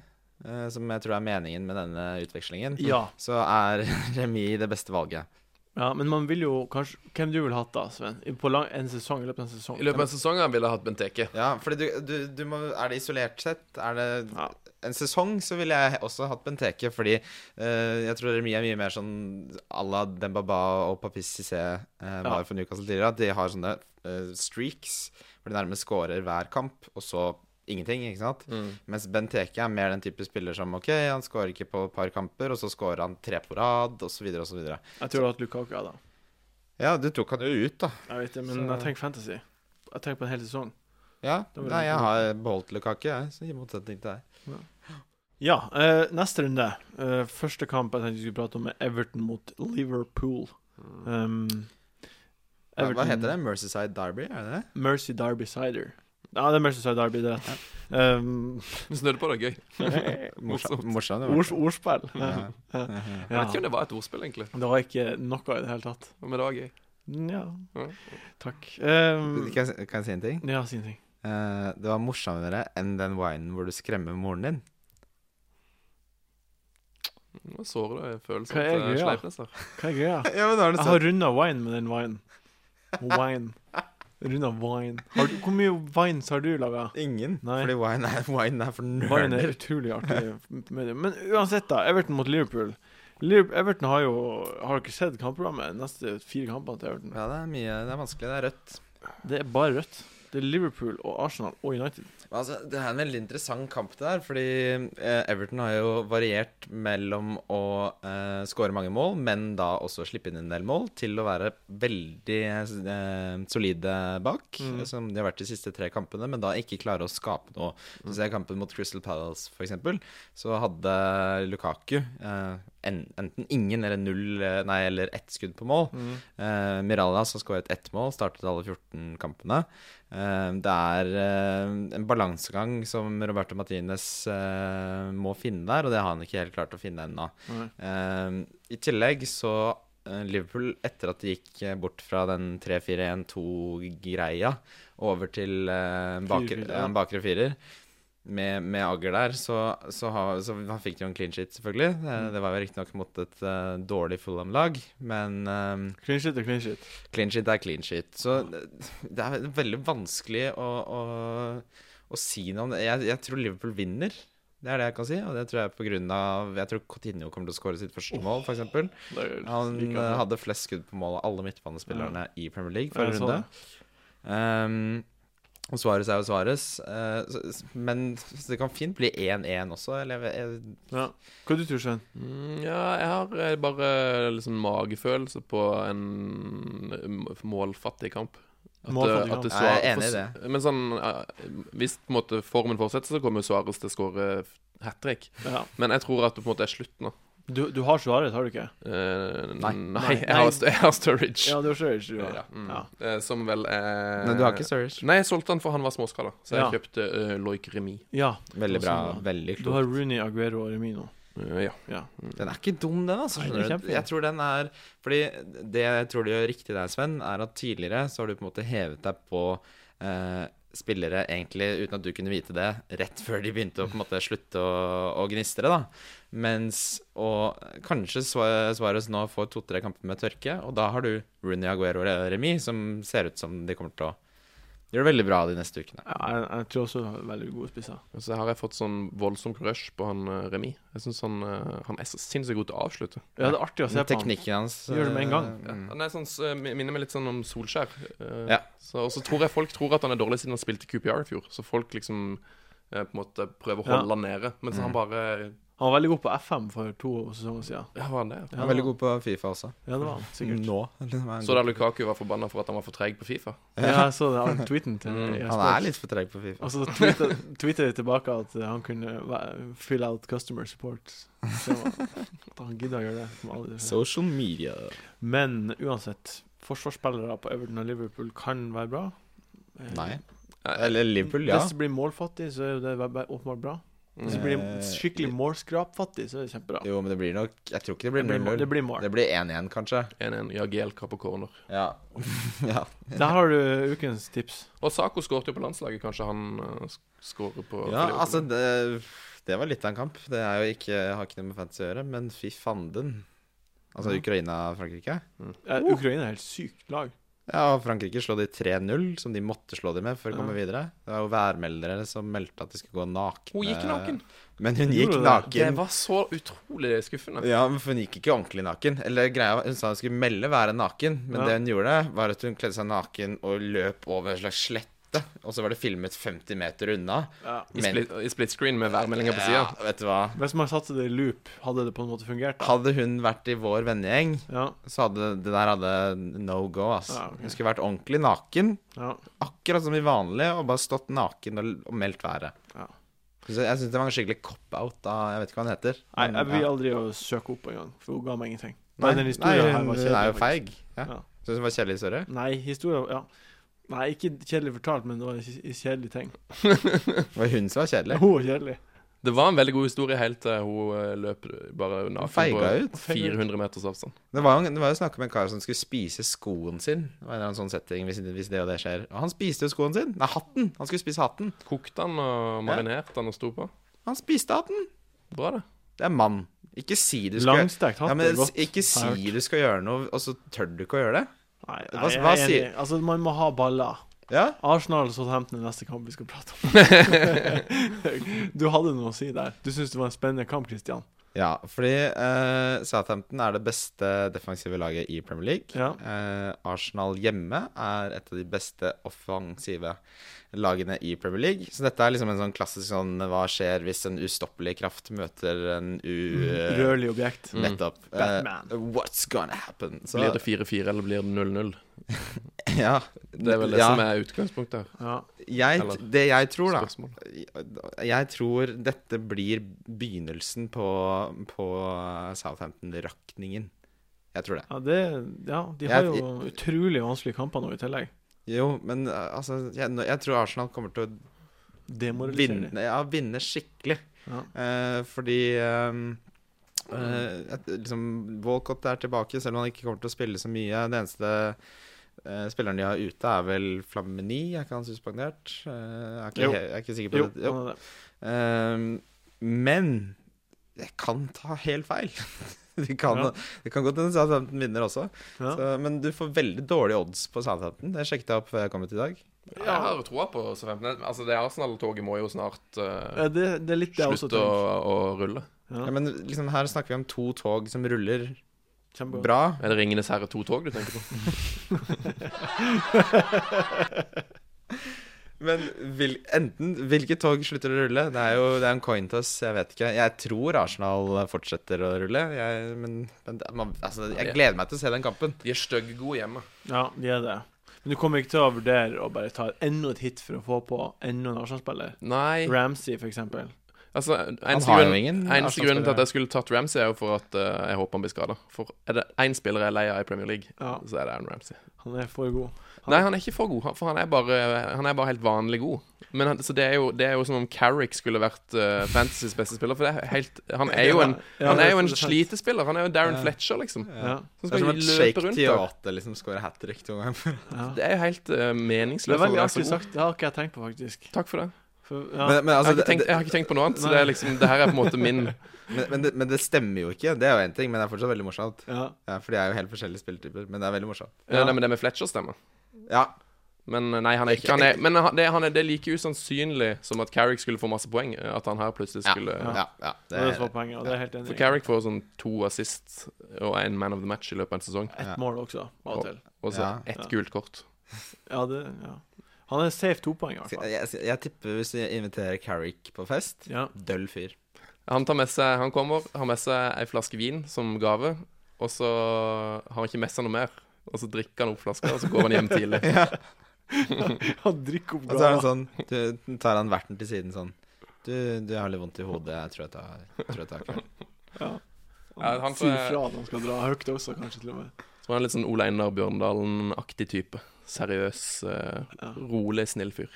Speaker 3: eh, som jeg tror er meningen med denne utvekslingen,
Speaker 1: Ja.
Speaker 3: så er remis det beste valget.
Speaker 1: ja. Men man vil jo kanskje Hvem du vil hatt da, Sven? I- På lang, en sesong? I løpet av en sesong?
Speaker 4: I løpet av sesongen ville jeg hatt Benteke.
Speaker 3: Ja, fordi du, du, du må Er det isolert sett? Er det
Speaker 1: Ja.
Speaker 3: en sesong? Så ville jeg også hatt Benteke, fordi eh, jeg tror remis er mye mer sånn à la Dembaba og Papis Cissé eh, var for Newcastle tidligere. At de har sånne eh, streaks hvor de nærmest scorer hver kamp, og så ingenting, ikke sant?
Speaker 4: Mm.
Speaker 3: Mens Benteke er mer den type spiller som OK, han skårer ikke på et par kamper, og så skårer han tre på rad, osv., osv.
Speaker 1: Jeg tror jeg har hatt Lukaku, ja, da.
Speaker 3: Ja, du tok han jo ut, da.
Speaker 1: Jeg vet det, men
Speaker 3: Så-
Speaker 1: jeg tenker fantasy. Jeg tenker på en hel sesong.
Speaker 3: Ja.
Speaker 1: Det var
Speaker 3: Nei,
Speaker 1: det.
Speaker 3: jeg har beholdt Lukaku, jeg, så i motsetning til deg.
Speaker 1: Ja, eh, neste runde. Eh, første kamp jeg tenkte vi skulle prate om, er Everton mot Liverpool. Um,
Speaker 3: Ja, Hva heter det? Mercyside Derby, er det det?
Speaker 1: Mercy Derby Cider. Ja, det er Mercyside Derby, det er rett. Um,
Speaker 4: Snudde på det, gøy.
Speaker 3: Morsomt. Morsomt.
Speaker 1: ords, ordspill.
Speaker 3: Ja.
Speaker 4: Jeg vet ikke
Speaker 1: Ja.
Speaker 4: om det var et ordspill, egentlig,
Speaker 1: Det var ikke noe i det hele tatt.
Speaker 4: men det var gøy.
Speaker 1: Nja.
Speaker 4: Ja.
Speaker 1: Takk. Um,
Speaker 3: Kan, jeg, kan jeg si en ting?
Speaker 1: ja, si en ting.
Speaker 3: Eh, det var morsommere enn den winen hvor du skremmer moren din.
Speaker 4: Nå sårer det følelsen
Speaker 1: Hva er
Speaker 4: til
Speaker 1: greia?
Speaker 4: sleipnesser.
Speaker 1: Hva er sånn- greia?
Speaker 3: Ja, men da har
Speaker 1: Jeg har runda wine med den wine. Wine. Runda wine. Har du, hvor mye vines har du laga?
Speaker 3: Ingen.
Speaker 1: Nei.
Speaker 3: Fordi wine er, wine er for
Speaker 1: Bayern er
Speaker 3: nerder.
Speaker 1: utrolig artig medium. Men uansett, da. Everton mot Liverpool. Liverpool Everton har jo Har dere sett kampprogrammet? Neste fire kampene til Everton.
Speaker 3: Ja, det er mye Det er vanskelig. Det er rødt.
Speaker 1: Det er bare rødt. Det er Liverpool og Arsenal og United.
Speaker 3: Altså, det er en veldig interessant kamp det der, fordi eh, Everton har jo variert mellom å eh, skåre mange mål, men da også slippe inn en del mål, til å være veldig eh, solide bak,
Speaker 1: Mm.
Speaker 3: som de har vært de siste tre kampene, men da ikke klare å skape noe. Så ser jeg kampen mot Crystal Palace, for eksempel, så hadde Lukaku eh, en, enten ingen eller null, eh, nei, eller ett skudd på mål. Eh, Mirallas har skåret ett mål, startet alle 14 kampene. Eh, det er eh, en balansegang som Roberto Martinez eh, må finne der, og det har han ikke helt klart å finne ennå.
Speaker 1: Nei.
Speaker 3: Eh, I tillegg så eh, Liverpool, etter at de gikk eh, bort fra den 3-4-1-2-greia over til eh, en bakre,
Speaker 1: 4-4, ja.
Speaker 3: ja, en bakre firer med, med Agger der, så, så, har- så han fikk de jo en clean sheet, selvfølgelig. Eh, Det var jo riktignok mot et eh, dårlig Fulham-lag, men eh,
Speaker 1: Clean shit og clean shit.
Speaker 3: Clean sheet er clean sheet. Så det det er veldig vanskelig å, å, å si noe om det. Jeg, jeg tror Liverpool vinner. Det er det jeg kan si, og det tror jeg er på grunn av Jeg tror Coutinho kommer til å skåre sitt første mål, f.eks.
Speaker 1: Det er
Speaker 3: Han
Speaker 1: like
Speaker 3: eh,
Speaker 1: bra.
Speaker 3: hadde flest skudd på mål av alle midtbanespillerne i Premier League forrige
Speaker 1: Jeg så
Speaker 3: runde.
Speaker 1: det.
Speaker 3: Um, og Suárez er jo Suárez. eh, så- s- men så det kan fint bli 1-1 også. Eller jeg, jeg,
Speaker 1: Ja. Hva du tror Sven?
Speaker 4: Mm, ja, jeg har eh, bare liksom magefølelse på en m- målfattig kamp. At,
Speaker 1: Målfattig
Speaker 4: eh, at
Speaker 1: kamp.
Speaker 4: Suarez-
Speaker 3: Jeg er enig i
Speaker 4: for- Men sånn, eh, hvis på en måte formen fortsetter, så kommer jo Suarez til å skåre hat trick.
Speaker 1: Ja.
Speaker 4: Men jeg tror at det på en måte er slutt nå.
Speaker 1: Du, du har svaret, har du ikke?
Speaker 4: Eh,
Speaker 3: Nei.
Speaker 1: Nei.
Speaker 4: jeg har, jeg har Sturridge.
Speaker 1: Ja, du har svaret. Du har.
Speaker 4: Ja, mm.
Speaker 1: Ja.
Speaker 4: Eh, som vel
Speaker 1: Eh,
Speaker 4: er
Speaker 3: men du har ikke Sturridge?
Speaker 4: Nei, jeg solgte han for han var småskala, så jeg
Speaker 1: Ja.
Speaker 4: kjøpte uh, Loik Remi.
Speaker 1: ja.
Speaker 3: Veldig bra.
Speaker 1: Sånn,
Speaker 3: Veldig
Speaker 1: Du
Speaker 3: klokt.
Speaker 1: har Rooney, Aguero og Remino.
Speaker 4: Eh, ja.
Speaker 3: Den er ikke dum, den, altså.
Speaker 1: Nei, den er
Speaker 3: skjønner du.
Speaker 1: kjempefin.
Speaker 3: Jeg tror den er Fordi det jeg tror du gjør riktig der, Sven, er at tidligere så har du på en måte hevet deg på eh, spillere, egentlig, uten at du kunne vite det, rett før de begynte å på en måte slutte å, å gnistre, da. Mens og kanskje Sua- Suarez nå får to-tre kamper med tørke, og da har du Rooney Aguero og Remi, som ser ut som de kommer til å gjøre det veldig bra de neste ukene.
Speaker 1: Ja, jeg, jeg tror også han er veldig gode spisser.
Speaker 4: Og Så har jeg fått sånn voldsomt rush på han eh, Remi. Jeg synes han, eh, han er så sinnssykt god til å avslutte.
Speaker 1: Ja, det er artig å se på han.
Speaker 3: Teknikken hans
Speaker 1: Gjør det med en gang.
Speaker 3: eh, mm.
Speaker 4: Han er sånn, s- eh, minner meg litt sånn om Solskjær. Eh,
Speaker 3: Ja.
Speaker 4: Så, og så tror jeg folk tror at han er dårlig siden han spilte QPR i fjor. Så folk liksom eh, på en måte prøver å
Speaker 1: Ja.
Speaker 4: holde han nede. Mens
Speaker 3: Mm.
Speaker 4: han bare
Speaker 1: Han var veldig god på FM for to sesonger siden.
Speaker 4: Ja, var han det?
Speaker 1: Ja,
Speaker 3: Han er veldig god på Fifa også.
Speaker 1: Ja, det var han, sikkert.
Speaker 3: Nå. liksom, er han
Speaker 4: Så
Speaker 3: god.
Speaker 4: da Lukaku var forbanna for at han var for treig på Fifa.
Speaker 1: Ja, jeg så den den tweeten til
Speaker 4: Mm,
Speaker 1: EA
Speaker 3: Han
Speaker 1: Sports.
Speaker 3: er litt for treg på Fifa.
Speaker 1: Og så tweetet- tweetet de tilbake at eh, han kunne væ- fill out customer support. Det var, at han gidder å gjøre det. som alle de gjør.
Speaker 3: Social media.
Speaker 1: Men uansett, forsvarsspillere på Everton og Liverpool kan være bra. Eh,
Speaker 3: Nei.
Speaker 4: Eh,
Speaker 3: Eller Liverpool, ja.
Speaker 1: Hvis det blir målfattig, så er jo det bare åpenbart bra. Hvis det
Speaker 4: mm.
Speaker 1: blir
Speaker 3: Eh,
Speaker 1: skikkelig målskrapfattig, så er det kjempebra.
Speaker 3: Jo, men det blir nok Jeg tror ikke det
Speaker 1: Det
Speaker 3: blir
Speaker 1: blir, mål-
Speaker 3: 0-0.
Speaker 1: det blir mål.
Speaker 3: Det blir 1-1, kanskje.
Speaker 4: 1-1. Ja, GLK på corner.
Speaker 3: Ja. ja.
Speaker 1: Der har du ukens tips.
Speaker 4: Og Sako skåret jo på landslaget. Kanskje han eh, sk- skårer på for
Speaker 3: ja
Speaker 4: Liverpool.
Speaker 3: altså, det, det var litt av en kamp. Det er jo ikke, har ikke noe med fantasy å gjøre, men fy fanden. Altså Ukraina-Frankrike.
Speaker 1: Eh, Ukraina er helt sykt lag.
Speaker 3: Ja, og Frankrike slå de 3-0, som de måtte slå de med for å komme videre. Det var jo værmeldere som meldte at de skulle gå nakne.
Speaker 4: Hun gikk naken.
Speaker 3: Men hun gikk
Speaker 1: Gjorde
Speaker 4: Det
Speaker 3: naken.
Speaker 4: var så utrolig skuffende.
Speaker 3: Ja, men for Hun gikk ikke ordentlig naken. Eller greia var- Hun sa hun skulle melde være naken, men
Speaker 1: Ja.
Speaker 3: det hun gjorde, var at hun kledde seg naken og løp over en slags slette. Og så var det filmet 50 meter unna.
Speaker 1: Ja.
Speaker 4: I split, I split screen med værmeldinger på sida.
Speaker 3: Ja, vet du hva.
Speaker 1: Hvis man satte det i loop, hadde det på en måte fungert? da?
Speaker 3: Hadde hun vært i vår vennegjeng,
Speaker 1: Ja,
Speaker 3: så hadde det der hadde no go. ass
Speaker 1: Ja, ok.
Speaker 3: Hun skulle vært ordentlig naken,
Speaker 1: ja.
Speaker 3: akkurat som i vanlig, og bare stått naken og, og meldt været.
Speaker 1: Ja.
Speaker 3: Så jeg syns det var en skikkelig cop-out av Jeg vet ikke hva han heter.
Speaker 1: Nei, jeg vil
Speaker 3: ja.
Speaker 1: aldri å søke opp engang, for hun ga meg ingenting.
Speaker 3: Nei,
Speaker 1: Nei,
Speaker 3: eh,
Speaker 1: den
Speaker 3: nei
Speaker 1: historien her
Speaker 3: hun,
Speaker 1: var
Speaker 3: hun er jo
Speaker 1: kjedelig. faktisk.
Speaker 3: feig. Ja.
Speaker 1: Ja.
Speaker 3: Syns hun var kjedelig, sorry.
Speaker 1: Nei, historien Ja. Nei, ikke kjedelig fortalt, men det var en kj- kjedelig ting.
Speaker 3: Det var hun som var kjedelig.
Speaker 1: Hun var kjedelig.
Speaker 4: Det var en veldig god historie helt til hun eh, løp bare naken
Speaker 3: Feiga
Speaker 4: på
Speaker 3: ut.
Speaker 4: 400 meters avstand.
Speaker 3: Det var, jo- det var jo snakk om en kar som skulle spise skoen sin. Det var en eller annen sånn setting hvis, hvis det og det skjer Og han spiste jo skoen sin! Nei, hatten! Han skulle spise hatten.
Speaker 4: Kokte han og marinerte han og sto på.
Speaker 3: Han spiste hatten!
Speaker 4: Bra, det.
Speaker 3: Det er mann. Ikke si du skal
Speaker 1: Langstekt hatt
Speaker 3: Ja, men
Speaker 1: er godt.
Speaker 3: Ikke
Speaker 1: har
Speaker 3: si
Speaker 1: jeg
Speaker 3: du skal gjøre noe, og så tør du ikke å gjøre det.
Speaker 1: Nei,
Speaker 3: Hva-
Speaker 1: nei, jeg
Speaker 3: hva
Speaker 1: er enig.
Speaker 3: sier-
Speaker 1: Altså, man må ha baller.
Speaker 3: Ja,
Speaker 1: Arsenal og Southampton er neste kamp vi skal prate om. du hadde noe å si der. Du syns det var en spennende kamp, Christian.
Speaker 3: ja fordi eh, Southampton er det beste defensive laget i Premier League.
Speaker 1: Ja.
Speaker 3: Eh, Arsenal hjemme er et av de beste offensive lagene i Premier League. Så dette er liksom en sånn klassisk sånn hva skjer hvis en ustoppelig kraft møter en
Speaker 1: Mm.
Speaker 3: u... eh,
Speaker 1: Rødlig objekt.
Speaker 3: Nettopp. Eh,
Speaker 1: Batman.
Speaker 3: what's gonna happen? Så,
Speaker 4: Mm. Blir det 4-4 eller blir det 0-0?
Speaker 3: ja,
Speaker 4: Det er vel det
Speaker 3: ja,
Speaker 4: som er utgangspunktet her.
Speaker 1: Ja.
Speaker 3: jeg,
Speaker 4: eller-
Speaker 3: Det jeg tror, da,
Speaker 4: Spørsmålet.
Speaker 3: Jeg tror dette blir begynnelsen på, på eh, Southampton-rakningen. Jeg tror det.
Speaker 1: ja, det Ja, de har jo utrolig vanskelige kamper nå i tillegg.
Speaker 3: Jo, men eh, altså Jeg, jeg tror Arsenal kommer til å
Speaker 1: Demoraliserer de.
Speaker 3: vinne, ja, vinne skikkelig.
Speaker 1: Ja.
Speaker 3: Eh, fordi eh, eh, at, liksom, Walcott er tilbake, selv om han ikke kommer til å spille så mye. Den eneste eh, spilleren de har ute, er vel Flamini. Er ikke han suspendert? Eh, jeg, er ikke,
Speaker 1: Jo.
Speaker 3: he- jeg er ikke sikker på
Speaker 1: Jo,
Speaker 3: det. Jo.
Speaker 1: han er det.
Speaker 3: Ehm, men jeg kan ta helt feil. Det kan,
Speaker 1: Ja.
Speaker 3: det kan godt hende Southampton vinner også.
Speaker 1: Ja.
Speaker 3: Så, men du får veldig dårlige odds på Southampton. Det sjekket jeg opp før jeg kom hit i dag.
Speaker 4: Jeg har troa på Southampton. Altså, det Arsenal-toget må jo snart eh,
Speaker 1: Ja, det, det er litt det jeg også
Speaker 4: slutte å,
Speaker 1: tenker.
Speaker 4: å rulle.
Speaker 1: Ja.
Speaker 3: Ja, men liksom her snakker vi om to tog som ruller
Speaker 1: Kjempebra.
Speaker 3: bra.
Speaker 4: Er det Ringenes herre 2-tog du tenker på?
Speaker 3: Men vil, enten hvilket tog slutter å rulle? Det er jo det er en coin toss, jeg vet ikke. Jeg tror Arsenal fortsetter å rulle, jeg, men, men det- man, altså, jeg gleder meg til å se den kampen.
Speaker 4: De er stygge gode hjemme.
Speaker 1: Ja, de er det. Men du kommer ikke til å vurdere å bare ta enda et hit for å få på enda en Arsenal-spiller?
Speaker 4: Nei.
Speaker 1: Ramsey, for eksempel.
Speaker 4: Altså, eneste
Speaker 3: har jo
Speaker 4: grunn,
Speaker 3: ingen
Speaker 4: eneste
Speaker 3: Arsenal-spillere.
Speaker 4: grunnen til at jeg skulle tatt Ramsey, er jo for at eh, jeg håper han blir skada. For er det én spiller jeg er lei av i Premier League,
Speaker 1: Ja,
Speaker 4: så er det Aaron Ramsey.
Speaker 1: han er for god.
Speaker 4: Nei, han er ikke for god, han- for han er bare, han er bare helt vanlig god. Men han, så det er, jo, det er jo som om Carrick skulle vært uh, Fantasys beste spiller, for det er helt, han er jo en,
Speaker 1: Ja,
Speaker 4: han
Speaker 1: det
Speaker 4: er jo en
Speaker 1: sant.
Speaker 4: slitespiller. Han er jo Darren Fletcher, liksom.
Speaker 1: Ja.
Speaker 4: Som
Speaker 3: Det er
Speaker 4: skal
Speaker 3: som at
Speaker 4: løpe
Speaker 3: Shake
Speaker 4: rundt der.
Speaker 3: Tiate liksom scorer hat trick to ganger.
Speaker 1: Ja.
Speaker 4: Det er jo helt eh,
Speaker 1: Det
Speaker 4: meningsløst.
Speaker 1: er
Speaker 4: at han
Speaker 1: veldig
Speaker 4: er så
Speaker 1: artig
Speaker 4: god.
Speaker 1: sagt. Det har ikke jeg tenkt på, faktisk.
Speaker 4: Takk for det.
Speaker 1: For,
Speaker 3: Men,
Speaker 1: ja.
Speaker 3: men, altså,
Speaker 4: jeg, har ikke
Speaker 3: det-
Speaker 4: tenkt, jeg har ikke tenkt på noe annet, så det er liksom Det her er på en måte min
Speaker 3: men, men, det, men det stemmer jo ikke. Det er jo én ting, men det er fortsatt veldig morsomt.
Speaker 1: Ja.
Speaker 3: Ja, for de er jo helt forskjellige spilletyper, men det er veldig morsomt.
Speaker 1: Ja.
Speaker 4: Nei, men det med Fletcher stemmer.
Speaker 3: Ja,
Speaker 4: Men eh, nei, han er ikke han er, Men han, det, han er, det er like usannsynlig som at Carrick skulle få masse poeng, eh, at han her plutselig
Speaker 3: ja,
Speaker 4: skulle
Speaker 3: ja, ja
Speaker 1: Det er det som
Speaker 3: det,
Speaker 1: var poenget, og det er jeg helt enig.
Speaker 4: For
Speaker 1: i.
Speaker 4: Carrick får sånn to assist og en man of the match i løpet av en sesong,
Speaker 1: Ett mål også, av og til.
Speaker 4: og så
Speaker 3: Ja.
Speaker 4: ett
Speaker 1: Ja.
Speaker 4: gult kort.
Speaker 1: Ja, det, ja. Han er safe topoeng, i hvert fall.
Speaker 3: jeg, jeg, jeg tipper hvis vi inviterer Carrick på fest
Speaker 1: Ja.
Speaker 3: Døll fyr.
Speaker 4: Han tar med seg Han kommer, har med seg ei flaske vin som gave, og så har han ikke med seg noe mer. Og så drikker han opp flaska, og så går han hjem tidlig.
Speaker 1: Han drikker opp
Speaker 3: Og så er
Speaker 1: gava.
Speaker 3: han sånn Du tar han verten til siden sånn Du, du jeg har litt vondt i hodet. Jeg tror jeg tar, jeg tror jeg tar kveld.
Speaker 4: Ja, han
Speaker 1: Han sier
Speaker 4: får-
Speaker 1: fra at han skal dra høyt også, kanskje, til og med.
Speaker 4: Så han er litt sånn Ole Einar Bjørndalen-aktig type. Seriøs, eh,
Speaker 1: Ja.
Speaker 4: rolig, snill fyr.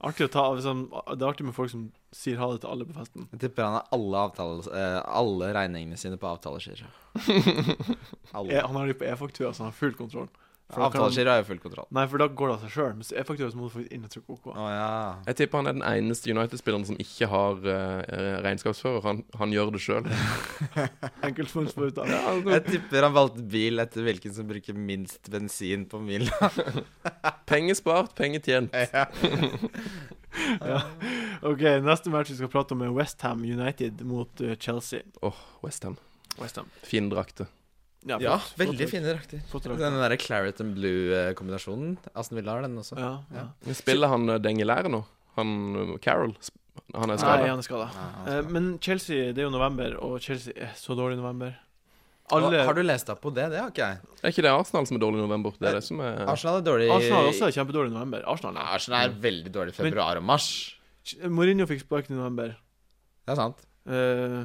Speaker 1: Artig å ta, liksom, det er artig med folk som sier ha det til alle på festen.
Speaker 3: Jeg tipper han har alle, avtales, eh, alle regningene sine på avtaleskira.
Speaker 1: E,
Speaker 3: Alle.
Speaker 1: han har de på e-faktura, så han har full kontroll. For da kan han-
Speaker 3: Avtaleskira har jo full kontroll.
Speaker 1: Nei, for da går det av seg sjøl. Mens e-faktura så må du faktisk inn og trykke OK.
Speaker 3: Å ja.
Speaker 4: Jeg tipper han er den eneste United-spilleren som ikke har eh, regnskapsfører. Han, han gjør det sjøl.
Speaker 1: Enkeltmannsforetak.
Speaker 3: Jeg tipper han valgte bil etter hvilken som bruker minst bensin på mila.
Speaker 4: Penger spart, penger tjent.
Speaker 1: OK, neste match vi skal prate om, er Westham United mot eh, Chelsea.
Speaker 4: Westham.
Speaker 1: Westham.
Speaker 4: Fin drakte.
Speaker 1: Ja, flott,
Speaker 3: veldig
Speaker 1: flott,
Speaker 3: fine drakter.
Speaker 1: flott drakt.
Speaker 3: Den derre Claret and Blue-kombinasjonen. Aston Villa har den også.
Speaker 1: Ja, ja.
Speaker 3: Ja.
Speaker 4: Spiller han uh, Dengelære nå? Han eh, Carroll? Sp- Han er
Speaker 1: Nei,
Speaker 4: skada.
Speaker 1: han er skada.
Speaker 3: Nei, han
Speaker 1: Eh,
Speaker 3: skal-
Speaker 1: Men Chelsea, det er jo november, og Chelsea er så dårlig i november.
Speaker 3: Hva- Har
Speaker 1: Alle
Speaker 3: du lest deg på det? Det har ikke jeg.
Speaker 4: Er ikke det Arsenal som er dårlig i november? Det er det som er
Speaker 3: Arsenal er dårlig
Speaker 1: Arsenal også er kjempedårlig i november. Arsenal
Speaker 3: Nei,
Speaker 1: er.
Speaker 3: Arsenal er veldig dårlig i februar og mars.
Speaker 1: Ch- Mourinho fikk sparken i november.
Speaker 3: Det er sant.
Speaker 1: Eh,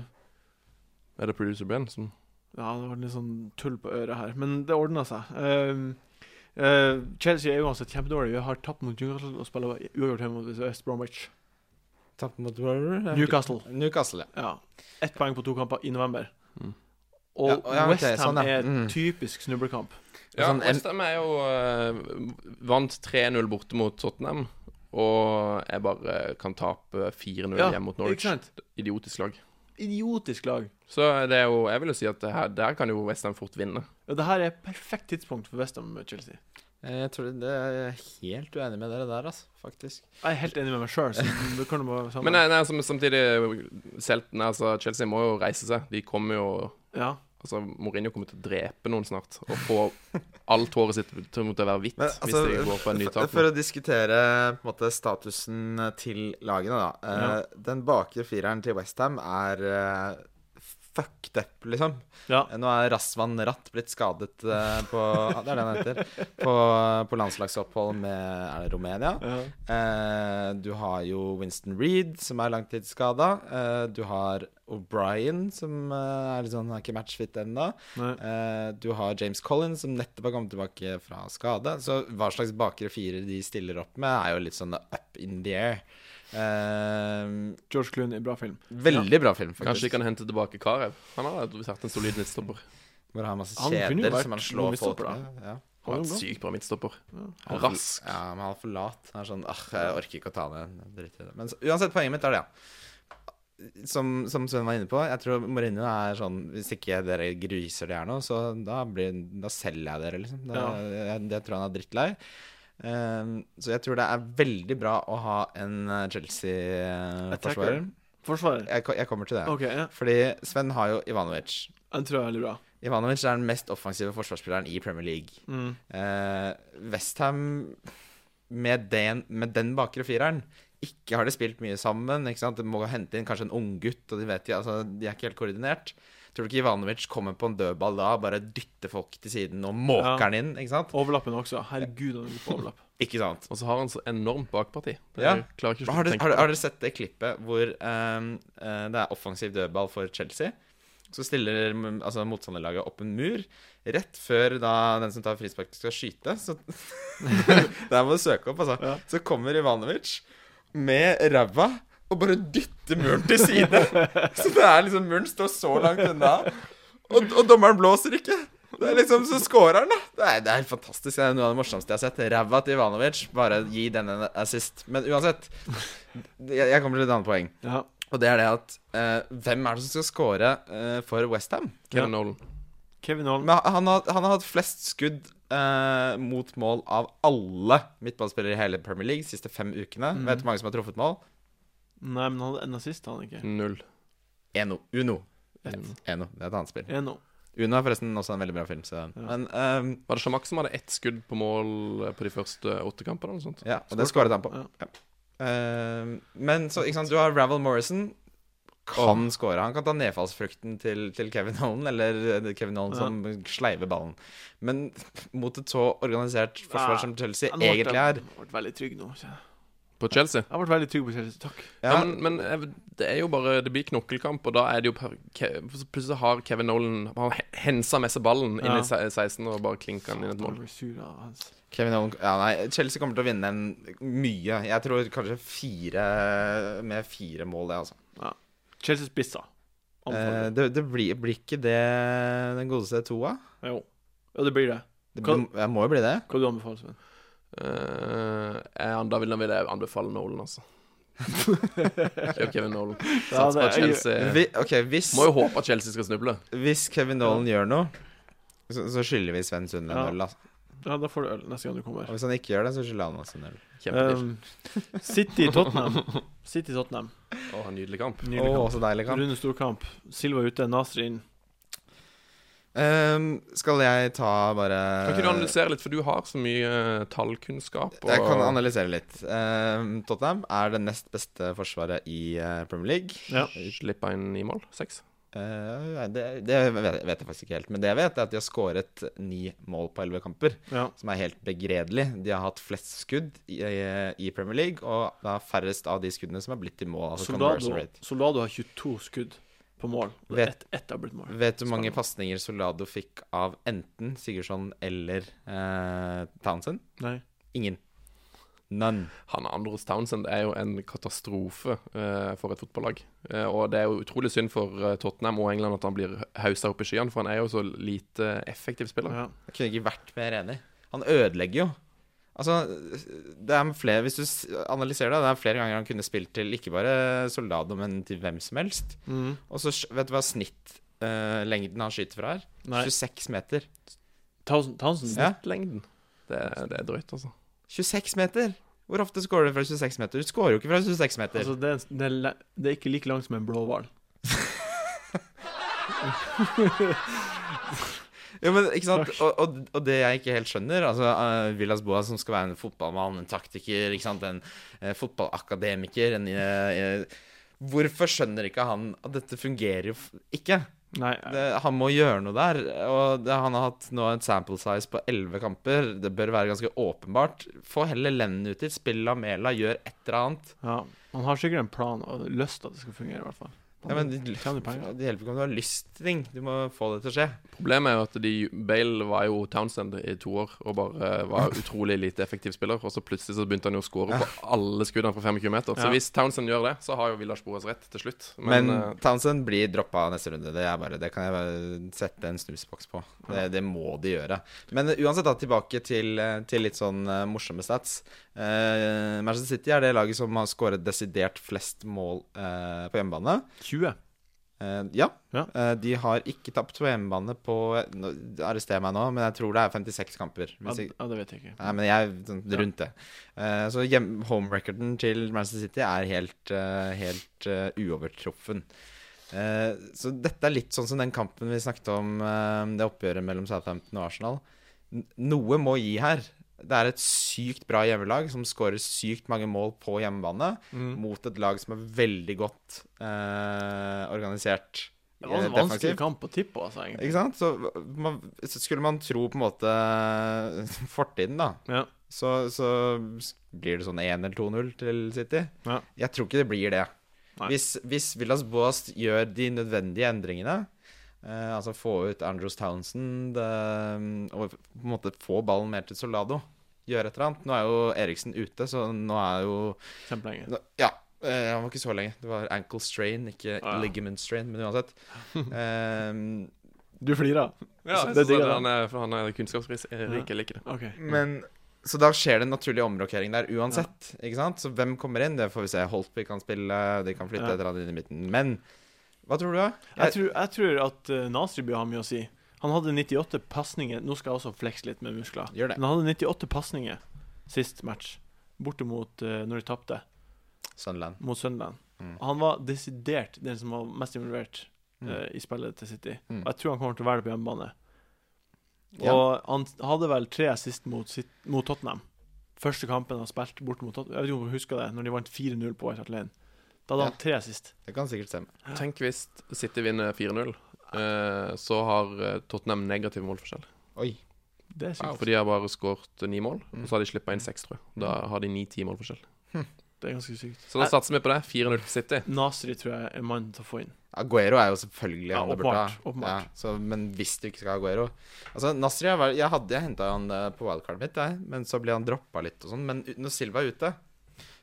Speaker 4: Er det producer Brenn som
Speaker 1: ja, det var litt sånn tull på øret her, men det ordna seg. Eh, eh, Chelsea er uansett kjempedårlig. Vi har tapt mot Newcastle og spiller uavgjort hjemme mot West Bromwich.
Speaker 3: Tapt mot Wolver-
Speaker 1: Newcastle.
Speaker 3: Newcastle, ja.
Speaker 1: Ja. Ett poeng på to kamper i november.
Speaker 4: Mm.
Speaker 1: Og
Speaker 3: Ja, og- ja, ok,
Speaker 1: Westham
Speaker 3: sånn, ja.
Speaker 1: er
Speaker 3: Mm.
Speaker 1: typisk snublekamp.
Speaker 4: Ja,
Speaker 3: Sånn, en-
Speaker 4: Westham er jo eh, Vant 3-0 borte mot Tottenham. Og jeg bare kan tape 4-0
Speaker 1: Ja,
Speaker 4: hjemme mot
Speaker 1: Ikke
Speaker 4: Norwich.
Speaker 1: sant?
Speaker 4: Idiotisk lag.
Speaker 1: Idiotisk lag.
Speaker 4: Så det er jo Jeg vil jo si at det her, der kan jo Westham fort vinne.
Speaker 1: Og det her er perfekt tidspunkt for Westham Chelsea.
Speaker 3: Eh, Jeg tror det er helt uenig med dere der, altså. Faktisk.
Speaker 1: Jeg er helt enig med meg sjøl, så du kan jo bare
Speaker 4: Men eh, nei, nei, som, samtidig selv, nei, altså, Chelsea må jo reise seg. De kommer jo
Speaker 1: Ja.
Speaker 4: Altså, Mourinho kommer til å drepe noen snart. Og få alt håret sitt til å måtte være hvitt
Speaker 3: Men, altså,
Speaker 4: hvis de går på en ny
Speaker 3: For,
Speaker 4: tap.
Speaker 3: for å diskutere på en måte, statusen til lagene, da. Eh, Den bakre fireren til Westham er eh, fucked up, liksom.
Speaker 1: ja.
Speaker 3: Eh, Nå er Rasvan Ratt blitt skadet eh, på ja, Det er det han heter. På, på landslagsopphold med Er det Romania?
Speaker 1: ja.
Speaker 3: Eh, du har jo Winston Reed, som er langtidsskada. Eh, du har O'Brien, som eh, er litt sånn, har ikke matchfit ennå.
Speaker 1: Nei.
Speaker 3: Eh, du har James Collins, som nettopp har kommet tilbake fra skade. Så hva slags bakre firer de stiller opp med, er jo litt sånn up in the air. Eh,
Speaker 1: George Clooney, bra film.
Speaker 3: veldig bra film, faktisk.
Speaker 4: Kanskje de kan hente tilbake Karev. Han har vært en solid midtstopper.
Speaker 3: Hvor han har masse
Speaker 1: Han kunne jo
Speaker 3: kjeder
Speaker 1: vært
Speaker 3: som han
Speaker 1: noe
Speaker 3: slår folk
Speaker 1: mistopper, da.
Speaker 3: med. Ja.
Speaker 4: Han
Speaker 1: Han er
Speaker 4: har vært
Speaker 1: bra.
Speaker 4: sykt bra midtstopper.
Speaker 3: Han-
Speaker 4: Rask.
Speaker 3: Ja, men han er for lat. Han er sånn ah, jeg orker ikke å ta ned dritt i det. Men så, uansett, poenget mitt er det, ja. Som, som Sven var inne på, jeg tror Mourinho er sånn Hvis ikke dere gruser det her nå, så da, blir, da selger jeg dere, liksom. Da, jeg, det tror jeg han er drittlei. Ehm, så jeg tror det er veldig bra å ha en eh, Chelsea-forsvarer.
Speaker 1: Attacker. Forsvarer.
Speaker 3: Jeg, ko- jeg kommer til det.
Speaker 1: OK, ja.
Speaker 3: Fordi Sven har jo Ivanovic.
Speaker 1: den tror jeg er veldig bra.
Speaker 3: Ivanovic er den mest offensive forsvarsspilleren i Premier League.
Speaker 1: Mm.
Speaker 3: Eh, Westham med den, med den bakre fireren ikke har de spilt mye sammen. Ikke sant? De må hente inn kanskje en unggutt, og de vet ikke altså, De er ikke helt koordinert. Tror du ikke Ivanovic kommer på en dødball da, bare dytter folk til siden og måker
Speaker 1: Ja.
Speaker 3: den inn? Ikke sant?
Speaker 1: Overlappen også. Herregud, han er god på overlapp.
Speaker 3: Ikke sant?
Speaker 4: Og så har han så enormt bakparti. Det
Speaker 3: Ja.
Speaker 4: er- klarer ikke å
Speaker 3: Har
Speaker 4: slutte å
Speaker 3: dere,
Speaker 4: tenke
Speaker 3: har,
Speaker 4: på
Speaker 3: dere- har dere sett det klippet hvor ehm, eh, det er offensiv dødball for Chelsea? Så stiller mm, altså, motstanderlaget opp en mur. Rett før da den som tar frispark, skal skyte. Så der må du søke opp, altså.
Speaker 1: Ja.
Speaker 3: Så kommer Ivanovic med ræva og bare dytter muren til side. så det er liksom Muren står så langt unna, og, og dommeren blåser ikke. Det er liksom Så scorer han, da. Det er, det er helt fantastisk. Det er noe av det morsomste jeg har sett. Ræva til Ivanovic. Bare gi den en assist. Men uansett, jeg, jeg kommer til et annet poeng.
Speaker 1: Ja.
Speaker 3: Og det er det at eh, Hvem er det som skal score eh, for Westham?
Speaker 4: Kevin Nolan.
Speaker 1: Kevin Holm.
Speaker 3: Men han har, han har hatt flest skudd eh, mot mål av alle midtballspillere i hele Premier League de siste fem ukene. Vet du hvor mange som har truffet mål?
Speaker 1: Nei, men han hadde en assist, han ikke.
Speaker 4: Null.
Speaker 3: Eno. Uno.
Speaker 4: Mm.
Speaker 1: Ett.
Speaker 3: Eno. Det er et annet spill.
Speaker 1: En nå.
Speaker 3: Uno er forresten også en veldig bra film, så Men ehm,
Speaker 4: Var det Sjamak som hadde ett skudd på mål eh, på de første åtte kampene? eller noe sånt?
Speaker 3: Ja, og det skåret han på. Ja. Ehm, men så, ikke sant, du har Ravel Morrison. Kan skåre. Han kan ta nedfallsfrukten til, til Kevin Holland, eller eh, Kevin Holland som sleiver ballen. Men mot et så organisert forsvar
Speaker 1: Nei,
Speaker 3: som Chelsea
Speaker 1: Han ble-
Speaker 3: egentlig er
Speaker 1: han ble veldig trygg nå. kjenner Jeg
Speaker 4: På Chelsea?
Speaker 1: Jeg ble veldig trygg på Chelsea. Takk.
Speaker 4: Ja,
Speaker 3: ja,
Speaker 4: men, men eh, det er jo bare Det blir knokkelkamp, og da er det jo per- Ke- Plutselig har Kevin Nolan Han he- hensa med seg ballen inn
Speaker 1: Ja.
Speaker 4: i se- 16 og bare klinka den inn i et
Speaker 1: Jeg
Speaker 4: mål.
Speaker 1: ble sur av hans.
Speaker 3: Kevin Holland ja, nei, Chelsea kommer til å vinne en mye. Jeg tror kanskje fire med fire mål, det, altså.
Speaker 1: Chelsea spissa.
Speaker 3: Eh,
Speaker 1: Anfallet.
Speaker 3: det det blir, blir ikke det den godeste toa?
Speaker 1: jo. Ja, det blir det.
Speaker 3: Det
Speaker 1: Kan-
Speaker 3: blir- må jo bli det.
Speaker 1: Hva du anbefaler Sven?
Speaker 4: Eh, eh, da vil, da vil jeg anbefale Nolan, altså. Kjøp Kevin Nolan.
Speaker 1: Ja,
Speaker 4: Sats på
Speaker 1: det er
Speaker 4: at
Speaker 1: jo-
Speaker 4: Chelsea
Speaker 3: Vi, ok, hvis
Speaker 4: Må jo håpe at Chelsea skal snuble.
Speaker 3: Hvis Kevin Nolan gjør noe, så, så skylder vi Sven Sund en
Speaker 1: Ja.
Speaker 3: øl. Altså.
Speaker 1: Ja, da får du øl neste gang du kommer.
Speaker 3: Og hvis han ikke gjør det, så skylder han oss en øl.
Speaker 4: Kjempedyr.
Speaker 1: Um, City Tottenham. City Tottenham.
Speaker 4: Å, nydelig kamp.
Speaker 3: Å,
Speaker 1: Nydelig kamp.
Speaker 3: så deilig kamp.
Speaker 1: Rune storkamp. Silva ute, Nasri inn.
Speaker 3: Ehm, skal jeg ta bare
Speaker 4: Kan ikke du analysere litt, for du har så mye eh, tallkunnskap. Og...
Speaker 3: Jeg kan analysere litt. Ehm, Tottenham er det nest beste forsvaret i eh, Premier League.
Speaker 1: Ja.
Speaker 4: Slippa inn ni mål? Seks?
Speaker 3: Eh, nei, det det vet, vet jeg faktisk ikke helt. Men det jeg vet, er at de har skåret ni mål på elleve kamper.
Speaker 1: Ja.
Speaker 3: Som er helt begredelig. De har hatt flest skudd i, i Premier League, og det er færrest av de skuddene som er blitt til mål. Altså
Speaker 1: Soldado,
Speaker 3: conversion rate.
Speaker 1: Soldado har 22 skudd på mål. Og
Speaker 3: Vet- Mm.
Speaker 1: Ett ett har blitt mål.
Speaker 3: Vet du hvor mange pasninger Soldado fikk av enten Sigurdsson eller eh, Townsend?
Speaker 1: Nei.
Speaker 3: Ingen. None.
Speaker 4: Han Andros Townsend er jo en katastrofe eh, for et fotballag. Eh, og det er jo utrolig synd for eh, Tottenham og England at han blir hausa opp i skyene, for han er jo så lite effektiv spiller.
Speaker 1: Ja.
Speaker 3: Jeg kunne ikke vært mer enig. Han ødelegger jo. Altså, det er flere Hvis du s- analyserer det, det er flere ganger han kunne spilt til ikke bare Soldado, men til hvem som helst.
Speaker 1: Mm.
Speaker 3: Og så sj- vet du hva snittlengden han skyter fra er?
Speaker 1: Nei.
Speaker 3: 26 meter.
Speaker 1: Townsend, Townsend.
Speaker 3: Ja.
Speaker 4: Lengden. Det, er- det er drøyt, altså.
Speaker 3: 26 meter! Hvor ofte scorer du fra 26 meter? Du scorer jo ikke fra 26 meter.
Speaker 1: Altså, det, er, en- det, er, le- det er ikke like langt som en blåhval.
Speaker 3: Jo, men ikke sant og, og, og det jeg ikke helt skjønner Altså, eh, Villas Boas som skal være en fotballmann, en taktiker, ikke sant En eh, fotballakademiker en, eh, eh, Hvorfor skjønner ikke han at dette fungerer jo f- ikke?
Speaker 1: Nei,
Speaker 3: Det, han må gjøre noe der Og det, han har hatt nå en sample size på 11 kamper Det bør være ganske åpenbart Få heller Lennon ut dit, spill Lamela, gjør et eller annet
Speaker 1: ja. Han har sikkert en plan og lyst til at det skal fungere, i hvert fall.
Speaker 3: ja, men, det,
Speaker 1: Han tjener penger.
Speaker 3: det hjelper ikke om du har lyst til ting Du må få det til å skje
Speaker 4: Problemet er jo at de, Bale var jo Townsend i to år og bare eh, var utrolig lite effektiv spiller. Og så plutselig så begynte han jo å skåre på alle skuddene fra 25 meter.
Speaker 1: Ja.
Speaker 4: Så hvis Townsend gjør det, så har jo Villars Boas rett til slutt.
Speaker 3: Men,
Speaker 4: Men, eh,
Speaker 3: Townsend blir droppa neste runde. Det, er bare, det kan jeg bare sette en snusboks på. Det, det må de gjøre. Men eh, uansett, da, tilbake til, eh, til litt sånn eh, morsomme stats. Eh, Manchester City er det laget som har skåret desidert flest mål eh, på hjemmebane.
Speaker 1: 20.
Speaker 3: Eh, ja.
Speaker 1: Ja.
Speaker 3: Eh, de har ikke tapt på hjemmebane på eh, nå- Arrester meg nå, men jeg tror det er 56 kamper.
Speaker 1: Ja,
Speaker 3: Hvis jeg,
Speaker 1: ja, det vet jeg ikke.
Speaker 3: Nei, men jeg sånn, rundt det. Eh, så hjem, home-recorden til Manchester City er helt, eh, helt eh, uovertruffen. Eh, så dette er litt sånn som den kampen vi snakket om, eh, det oppgjøret mellom Southampton og Arsenal. N noe må gi her. Det er et sykt bra hjemmelag som skårer sykt mange mål på
Speaker 1: Mm.
Speaker 3: hjemmebane mot et lag som er veldig godt eh, organisert
Speaker 1: Det var en
Speaker 3: eh,
Speaker 1: vanskelig
Speaker 3: defensivt.
Speaker 1: kamp å tippe, altså, egentlig.
Speaker 3: Ikke sant? Så, man, så skulle man tro på en måte fortiden, da,
Speaker 1: Ja.
Speaker 3: så, så blir det sånn 1 eller 2-0 til City.
Speaker 1: Ja.
Speaker 3: Jeg tror ikke det blir det.
Speaker 1: Nei.
Speaker 3: Hvis, hvis Villas Boas gjør de nødvendige endringene, eh, altså få ut Andrews Townsend eh, og på en måte få ballen mer til Solado, gjøre et eller annet Nå er jo Eriksen ute, så nå er jo
Speaker 1: Kjempelenge.
Speaker 3: nå- Ja. eh, han var ikke så lenge. Det var ankle strain, ikke
Speaker 1: Ah, ja.
Speaker 3: ligament strain, men uansett. Eh,
Speaker 1: Du flirer?
Speaker 4: Ja,
Speaker 1: Så det
Speaker 4: jeg synes
Speaker 1: digger
Speaker 4: at
Speaker 1: jeg.
Speaker 4: han er, for han er kunnskapsrik. Jeg liker det.
Speaker 1: OK.
Speaker 3: Men Så da skjer det en naturlig omrokering der uansett. Ikke sant? Så hvem kommer inn? Det får vi se. Holtby kan spille, de kan flytte
Speaker 1: Ja.
Speaker 3: et eller annet inn i midten. Men hva tror du, da?
Speaker 1: Jeg tror, jeg tror at eh, Nasri bør ha mye å si. Han hadde 98 pasninger Nå skal jeg også flekse litt med muskler.
Speaker 3: Gjør det.
Speaker 1: Men han hadde 98 pasninger sist match, bortimot uh, når de tapte,
Speaker 3: Sunderland.
Speaker 1: mot Sunderland.
Speaker 3: Mm.
Speaker 1: Han var desidert den som var mest involvert
Speaker 3: Mm.
Speaker 1: eh, i spillet til City.
Speaker 3: Mm.
Speaker 1: Og jeg tror han kommer til å være det på hjemmebane.
Speaker 3: Ja.
Speaker 1: Og han hadde vel tre assist mot, sitt, mot Tottenham. Første kampen han spilte bort mot Tottenham, jeg vet ikke om du husker det, når de vant 4-0 på White Hart Lane. Da hadde
Speaker 3: Ja.
Speaker 1: han tre assist.
Speaker 3: Det kan sikkert stemme.
Speaker 4: Tenk hvis City vinner 4-0, eh, så har eh, Tottenham negativ målforskjell.
Speaker 3: Oi.
Speaker 1: Det er sykt.
Speaker 4: For de har bare skåret ni mål, og så har de slippa inn seks, tror jeg. Da har de ni-ti målforskjell.
Speaker 1: Det er ganske sykt.
Speaker 4: Så da satser vi på det. 4-0 til City.
Speaker 1: Nasri tror jeg er mannen til å få inn.
Speaker 3: Aguero er jo selvfølgelig
Speaker 1: Ja,
Speaker 3: han det burde ha.
Speaker 1: åpenbart, åpenbart.
Speaker 3: Ja, så, men hvis du ikke skal ha Aguero Altså, Nasri jeg var, Jeg hadde jeg henta han eh, på wildcardet mitt, jeg, men så ble han droppa litt og sånn. Men ut- når Silva er ute,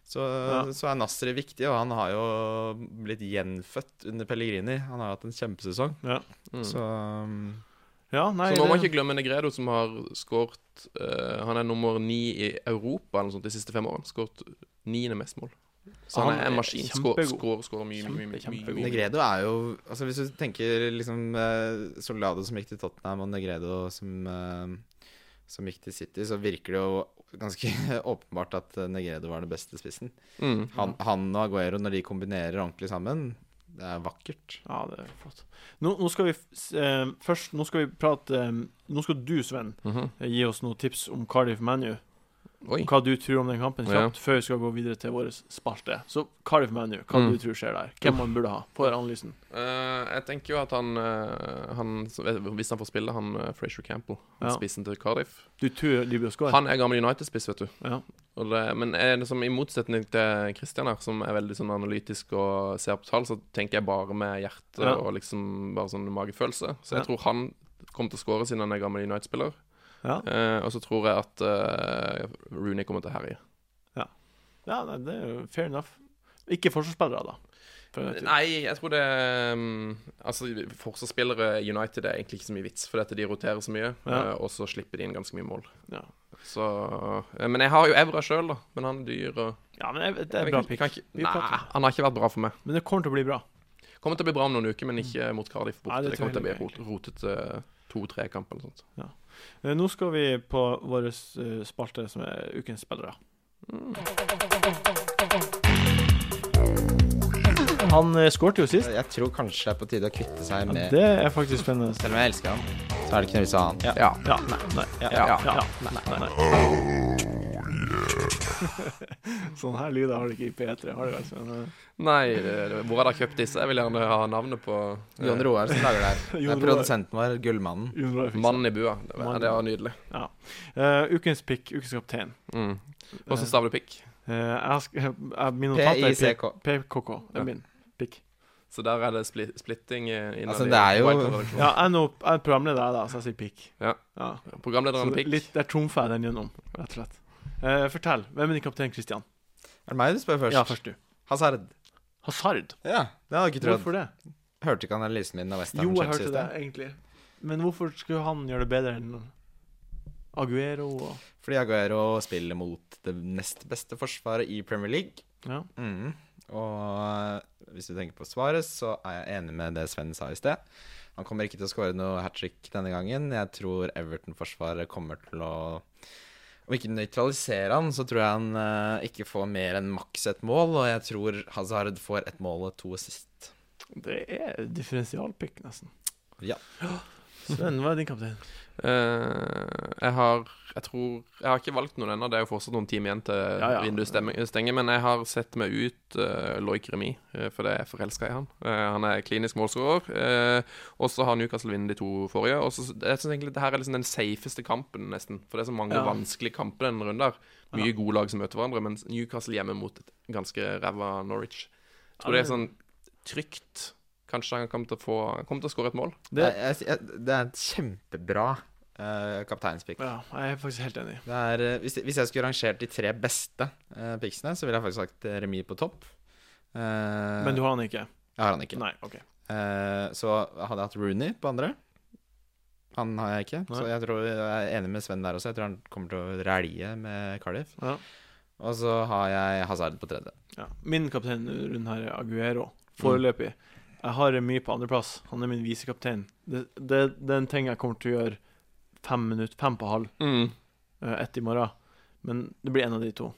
Speaker 3: så,
Speaker 1: Ja.
Speaker 3: så er Nasri viktig, og han har jo blitt gjenfødt under Pellegrini. Han har hatt en kjempesesong,
Speaker 1: Ja,
Speaker 4: Mm.
Speaker 3: så um,
Speaker 1: ja nei
Speaker 4: så må man
Speaker 1: det-
Speaker 4: ikke glemme Negredo, som har skåret eh, Han er nummer ni i Europa eller noe sånt, de siste fem årene. Skåret niende mest mål. Så han,
Speaker 1: Han
Speaker 4: er en
Speaker 1: er
Speaker 4: maskin. Skårer,
Speaker 1: kjempegod.
Speaker 4: skårer, skårer mye, mye, mye.
Speaker 1: Kjempe,
Speaker 4: mye,
Speaker 1: kjempegod.
Speaker 4: mye.
Speaker 3: Negredo er jo Altså Hvis du tenker liksom eh, Soldado som gikk til Tottenham, og Negredo som, eh, som gikk til City, så virker det jo ganske åpenbart at eh, Negredo var den beste spissen.
Speaker 4: Mm.
Speaker 3: Han, han og Aguero, når de kombinerer ordentlig sammen, det er vakkert.
Speaker 1: Ja, det er flott. Nå, nå skal vi f- s- eh, først Nå skal vi prate eh, Nå skal du, Sven,
Speaker 4: Mhm.
Speaker 1: eh, gi oss noen tips om Cardiff Manu.
Speaker 4: Oi.
Speaker 1: Hva du tror om den kampen,
Speaker 4: Ja.
Speaker 1: kjapt, før vi skal gå videre til vår spalte. Så Cardiff Manu, hva
Speaker 4: Mm.
Speaker 1: du tror skjer der? Hvem man burde ha? Få analysen.
Speaker 4: Eh, jeg tenker jo at han, eh, han Hvis han får spille, han uh, Frazier Campbell, han
Speaker 1: Ja.
Speaker 4: spissen til Cardiff
Speaker 1: Du tror de bør score?
Speaker 4: Han er gammel United-spiss, vet du.
Speaker 1: Ja.
Speaker 4: Og det, men er det som, i motsetning til Christian her, som er veldig sånn analytisk og ser på tall, så tenker jeg bare med hjertet
Speaker 1: Ja.
Speaker 4: og liksom bare sånn magefølelse. Så
Speaker 1: Ja.
Speaker 4: jeg tror han kommer til å skåre siden han er gammel United-spiller.
Speaker 1: Ja.
Speaker 4: Eh, og så tror jeg at eh, Rooney kommer til å herje.
Speaker 1: Ja, nei, det er jo fair enough. Ikke forsvarsspillere, da. For United.
Speaker 4: Nei, jeg tror det um, Altså, forsvarsspillere i United er egentlig ikke så mye vits, fordi at de roterer så mye,
Speaker 1: Ja.
Speaker 4: eh, og så slipper de inn ganske mye mål.
Speaker 1: Ja.
Speaker 4: Så eh, Men jeg har jo Evra sjøl, da. Men han er dyr og
Speaker 1: Ja, men jeg, det er
Speaker 4: Jeg
Speaker 1: bra
Speaker 4: kan-
Speaker 1: pick.
Speaker 4: kan ikke-
Speaker 1: Vi
Speaker 4: Nei,
Speaker 1: prater.
Speaker 4: han har ikke vært bra for meg.
Speaker 1: Men det kommer til å bli bra.
Speaker 4: Kommer til å bli bra om noen uker, men ikke mot Cardiff
Speaker 1: Mm.
Speaker 4: borte.
Speaker 1: Nei,
Speaker 4: det,
Speaker 1: det tror
Speaker 4: kommer til å bli
Speaker 1: jeg
Speaker 4: rot, rotete to-tre kamper eller noe sånt.
Speaker 1: Eh, Nå skal vi på vår eh, spalte, som er ukens spillere. Han eh, skårte jo sist.
Speaker 3: Jeg tror kanskje det er på tide å kvitte seg
Speaker 1: Ja,
Speaker 3: med
Speaker 1: det er faktisk spennende.
Speaker 3: Selv om jeg elsker han, så er det ikke noe vits i å ha han.
Speaker 4: Ja.
Speaker 1: Ja, nei, nei, ja,
Speaker 4: Ja.
Speaker 1: ja, nei, nei, nei. Sånn her lyder har det ikke i P3, har det vel? Men, eh,
Speaker 4: Nei, det- det- hvor har dere kjøpt disse? Jeg vil gjerne ha navnet på eh,
Speaker 3: Jon Roar som lager det her. Det
Speaker 1: Jon
Speaker 3: er
Speaker 1: Roar.
Speaker 3: produsenten vår, Gullmannen.
Speaker 1: Jon Roar fikser det.
Speaker 4: Mannen i bua. Det var,
Speaker 1: Mannen.
Speaker 4: det var nydelig.
Speaker 1: Eh, ukens pick, ukens kaptein.
Speaker 4: Mm. Hvordan staver du pikk?
Speaker 1: Eh, jeg, sk- jeg, jeg, mine notater er
Speaker 3: PICK.
Speaker 1: P- PKK. Det
Speaker 4: Ja.
Speaker 1: er min pick.
Speaker 4: Så der er det spli splitting eh, innad
Speaker 3: Altså,
Speaker 4: i
Speaker 3: det er jo-
Speaker 4: Wildcard-redaksjonen.
Speaker 1: Ja, jeg er nå- jeg er programleder, jeg, da, så jeg sier pick.
Speaker 4: Ja.
Speaker 1: ja. Så
Speaker 4: Programlederen
Speaker 1: det-
Speaker 4: pikk.
Speaker 1: litt, der trumfer jeg den gjennom, rett og slett. Eh, fortell. Hvem er din kaptein, Christian?
Speaker 3: Er det meg du spør først?
Speaker 1: Ja, først du.
Speaker 3: Hazard.
Speaker 1: Hazard.
Speaker 3: Ja, det hadde jeg ikke trodd.
Speaker 1: Hvorfor det?
Speaker 3: Hørte ikke analysen min av West
Speaker 1: Jo, jeg
Speaker 3: Ham Chelsea
Speaker 1: hørte
Speaker 3: i
Speaker 1: det,
Speaker 3: sted?
Speaker 1: egentlig. Men hvorfor skulle han gjøre det bedre enn Aguero og
Speaker 3: Fordi Aguero spiller mot det nest beste forsvaret i Premier League.
Speaker 1: Ja.
Speaker 3: Mhm. Og hvis du tenker på svaret, så er jeg enig med det Sven sa i sted. Han kommer ikke til å skåre noe hat trick denne gangen. Jeg tror Everton-forsvaret kommer til å Om ikke nøytralisere han, så tror jeg han eh, ikke får mer enn maks et mål. Og jeg tror Hazard får et mål og to assist.
Speaker 1: Det er differensialpick, nesten.
Speaker 3: Ja.
Speaker 1: Sven, hva er din kaptein?
Speaker 4: Eh, jeg har Jeg tror Jeg har ikke valgt noen ennå. Det er jo fortsatt noen timer igjen til
Speaker 1: Ja, ja.
Speaker 4: vinduet stemme- stenger. Men jeg har sett meg ut uh, Loik Remy, eh, fordi jeg er forelska i han. Eh, han er klinisk målskårer. eh, og så har Newcastle vunnet de to forrige. Og så Jeg synes egentlig det her er liksom den safeste kampen, nesten. For det er så mange
Speaker 1: Ja.
Speaker 4: vanskelige kamper denne runden. her. Mye gode lag som møter hverandre, men Newcastle hjemme mot et ganske ræva Norwich. Jeg tror
Speaker 1: Ja,
Speaker 4: det er sånn trygt. Kanskje han kommer til å få Kommer til å skåre et mål.
Speaker 3: Det,
Speaker 1: Det-
Speaker 3: jeg, jeg, det er et kjempebra uh, kapteinspick.
Speaker 1: Ja, jeg er faktisk helt enig.
Speaker 3: Det er, eh, hvis, hvis jeg skulle rangert de tre beste uh, picksene, så ville jeg faktisk sagt eh, remis på topp. Eh,
Speaker 1: Men du har han ikke?
Speaker 3: Jeg har han ikke.
Speaker 1: Nei, OK.
Speaker 3: Eh, så hadde jeg hatt Rooney på andre. Han har jeg ikke, så
Speaker 1: Nei.
Speaker 3: jeg tror eh, jeg er enig med Sven der også. Jeg tror han kommer til å rælje med Cardiff.
Speaker 1: Ja.
Speaker 3: Og så har jeg Hazard på tredje.
Speaker 1: Ja. Min kaptein denne runden her er Aguero. Foreløpig. Jeg har Remy på andreplass. Han er min visekaptein. Det, det, det er en ting jeg kommer til å gjøre fem minutter, fem på halv,
Speaker 4: Mm.
Speaker 1: eh, ett i morgen. Men det blir en av de to.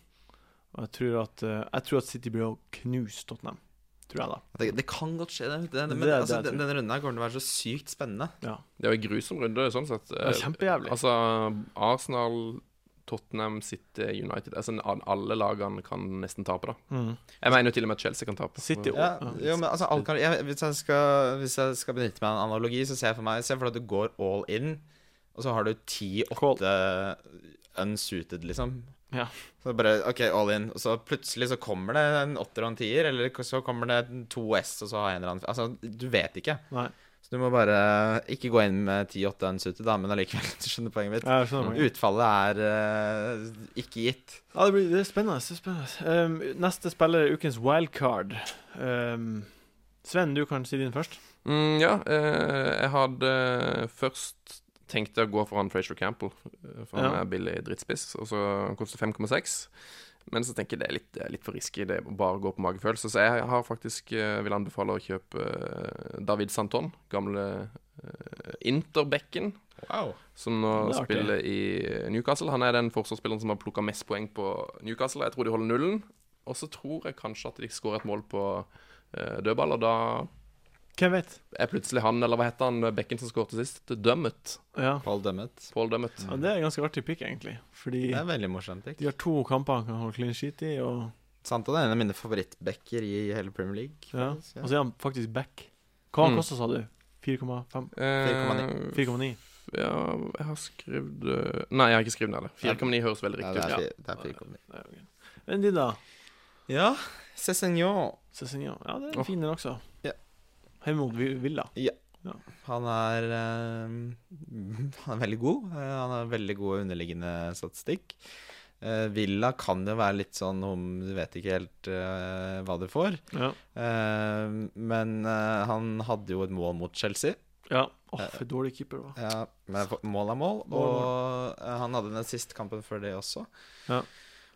Speaker 1: Og jeg tror at, eh, jeg tror at City blir å knuse Tottenham. Tror jeg, da.
Speaker 3: Det, det kan godt skje, det. det, men
Speaker 1: Det er det
Speaker 3: altså,
Speaker 1: jeg
Speaker 3: den,
Speaker 1: tror.
Speaker 3: denne runden her kommer til å være så sykt spennende.
Speaker 4: Det er jo en grusom runde, sånn sett.
Speaker 1: Det er kjempejævlig.
Speaker 4: Altså, Arsenal, Tottenham, City, United altså, Alle lagene kan nesten tape, da.
Speaker 1: Mm.
Speaker 4: Jeg mener jo til og med at Chelsea kan tape.
Speaker 1: City
Speaker 4: Så-
Speaker 1: Ja,
Speaker 3: Ja, jo, men altså, alt kan, jeg, hvis, jeg skal, hvis jeg skal benytte meg av en analogi, så ser jeg for meg Se for deg at du går all in, og så har du
Speaker 1: Call.
Speaker 3: 10-8 unsuited, liksom.
Speaker 1: Ja.
Speaker 3: Så bare OK, all in. Og så plutselig så kommer det en åtter og en tier, eller så kommer det en to S, og så har jeg en eller annen Altså, du vet ikke.
Speaker 1: Nei.
Speaker 3: Så du må bare ikke gå inn med 10-8 unsuited, da, men allikevel, du skjønner poenget mitt.
Speaker 1: Jeg skjønner. poenget.
Speaker 3: Utfallet er eh, ikke gitt.
Speaker 1: Ja, det, blir, det er spennende. Det er spennende. Um, neste spiller er ukens wildcard. Um, Sven, du kan si din først.
Speaker 4: Mm, ja, eh, jeg hadde eh, først tenkt å gå for han Frazier Campbell, eh, for han
Speaker 1: Ja.
Speaker 4: er billig drittspiss, og så han koster 5,6. Men så tenker jeg det er litt, det er litt for risky, det er bare å gå på magefølelse. Så jeg har faktisk eh, vil anbefale å kjøpe eh, David Santon, gamle eh, Interbekken,
Speaker 3: Wow.
Speaker 4: som nå
Speaker 1: Det er artig.
Speaker 4: spiller i Newcastle. Han er den forsvarsspilleren som har plukka mest poeng på Newcastle. Jeg tror de holder nullen. Og så tror jeg kanskje at de skårer et mål på eh, dødball, og da
Speaker 1: Hvem vet?
Speaker 4: er plutselig han, eller hva heter han, bekken som skåret sist, dømmet.
Speaker 1: Ja.
Speaker 3: Paul Dummet.
Speaker 4: Paul dømmet.
Speaker 1: ja, Det er en ganske artig pick, egentlig. Fordi
Speaker 3: Det er veldig morsomt. Ikke?
Speaker 1: De har to kamper han kan holde clean sheet i, og,
Speaker 3: Sant, og det er en av mine favorittbacker i hele Premier League.
Speaker 1: ja.
Speaker 3: faktisk, ja.
Speaker 1: og så er han faktisk back. Hva
Speaker 4: Mm.
Speaker 1: han kosta, sa du? 4,5?
Speaker 4: Eh,
Speaker 1: 4,9?
Speaker 4: ja, jeg har skrevet eh, Nei, jeg har ikke skrevet ned det. 4,9 høres veldig
Speaker 3: Ja, det
Speaker 4: riktig
Speaker 3: er,
Speaker 4: ut. Ja.
Speaker 3: fi- det er fire kommet.
Speaker 1: Ja, ok. Men de, da?
Speaker 3: Ja, Cézinho.
Speaker 1: Cezinha. Ja, det er
Speaker 4: Åh.
Speaker 1: en fin den også.
Speaker 3: Ja.
Speaker 1: Hjemme mot Vi- Villa.
Speaker 3: Han er eh, Han er veldig god. Eh, han har veldig god underliggende statistikk. Eh, Villa kan jo være litt sånn om du vet ikke helt eh, hva du får.
Speaker 1: Ja.
Speaker 3: Eh, men eh, han hadde jo et mål mot Chelsea.
Speaker 1: ja. Åh,
Speaker 3: Eh.
Speaker 1: for dårlig keeper, da.
Speaker 3: Ja, men for- mål er mål,
Speaker 1: Mål er
Speaker 3: og eh, han hadde den siste kampen før det også.
Speaker 1: Ja.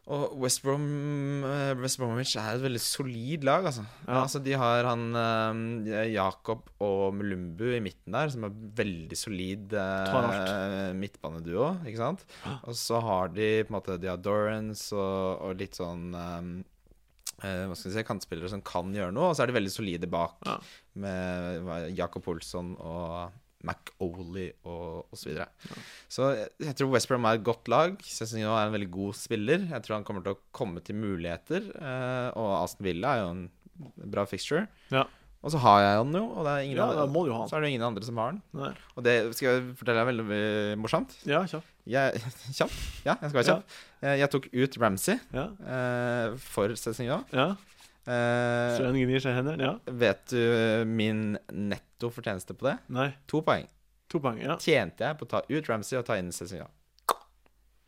Speaker 3: Og West, Brom, eh, West Bromwich er et veldig solid lag, altså.
Speaker 1: Ja.
Speaker 3: altså de har han eh, Jakob og Mulumbu i midten der, som er veldig solid
Speaker 1: Tar
Speaker 3: eh,
Speaker 1: alt.
Speaker 3: midtbaneduo, ikke sant? Og så har de på en måte De har Dorrance og, og litt sånn eh, eh, hva skal vi si, kantspillere som kan gjøre noe, og så er de veldig solide bak
Speaker 1: Ja.
Speaker 3: med hva- Jakob Olsson og McOley og, og så videre. Så jeg, jeg tror West Brom er et godt lag. Cezinho er en veldig god spiller. Jeg tror han kommer til å komme til muligheter. eh, og Aston Villa er jo en bra fixture.
Speaker 1: Ja.
Speaker 3: Og så har jeg han jo, og det er ingen
Speaker 1: Ja, da
Speaker 3: andre,
Speaker 1: må du ha han.
Speaker 3: så er det ingen andre som har han.
Speaker 1: Nei.
Speaker 3: Og det skal jeg fortelle deg veldig eh, morsomt.
Speaker 1: Ja, kjapt.
Speaker 3: Jeg, kjapp? Ja, jeg skal være kjapp. Eh, Jeg tok ut Ramsey
Speaker 1: Ja.
Speaker 3: eh, for Cezinho.
Speaker 1: ja.
Speaker 3: Eh,
Speaker 1: Sven gnir seg i hendene. Ja.
Speaker 3: vet du eh, min netto fortjeneste på det?
Speaker 1: Nei.
Speaker 3: To poeng.
Speaker 1: To poeng. Ja.
Speaker 3: Tjente jeg på å ta ut Ramsey og ta inn Cezinho.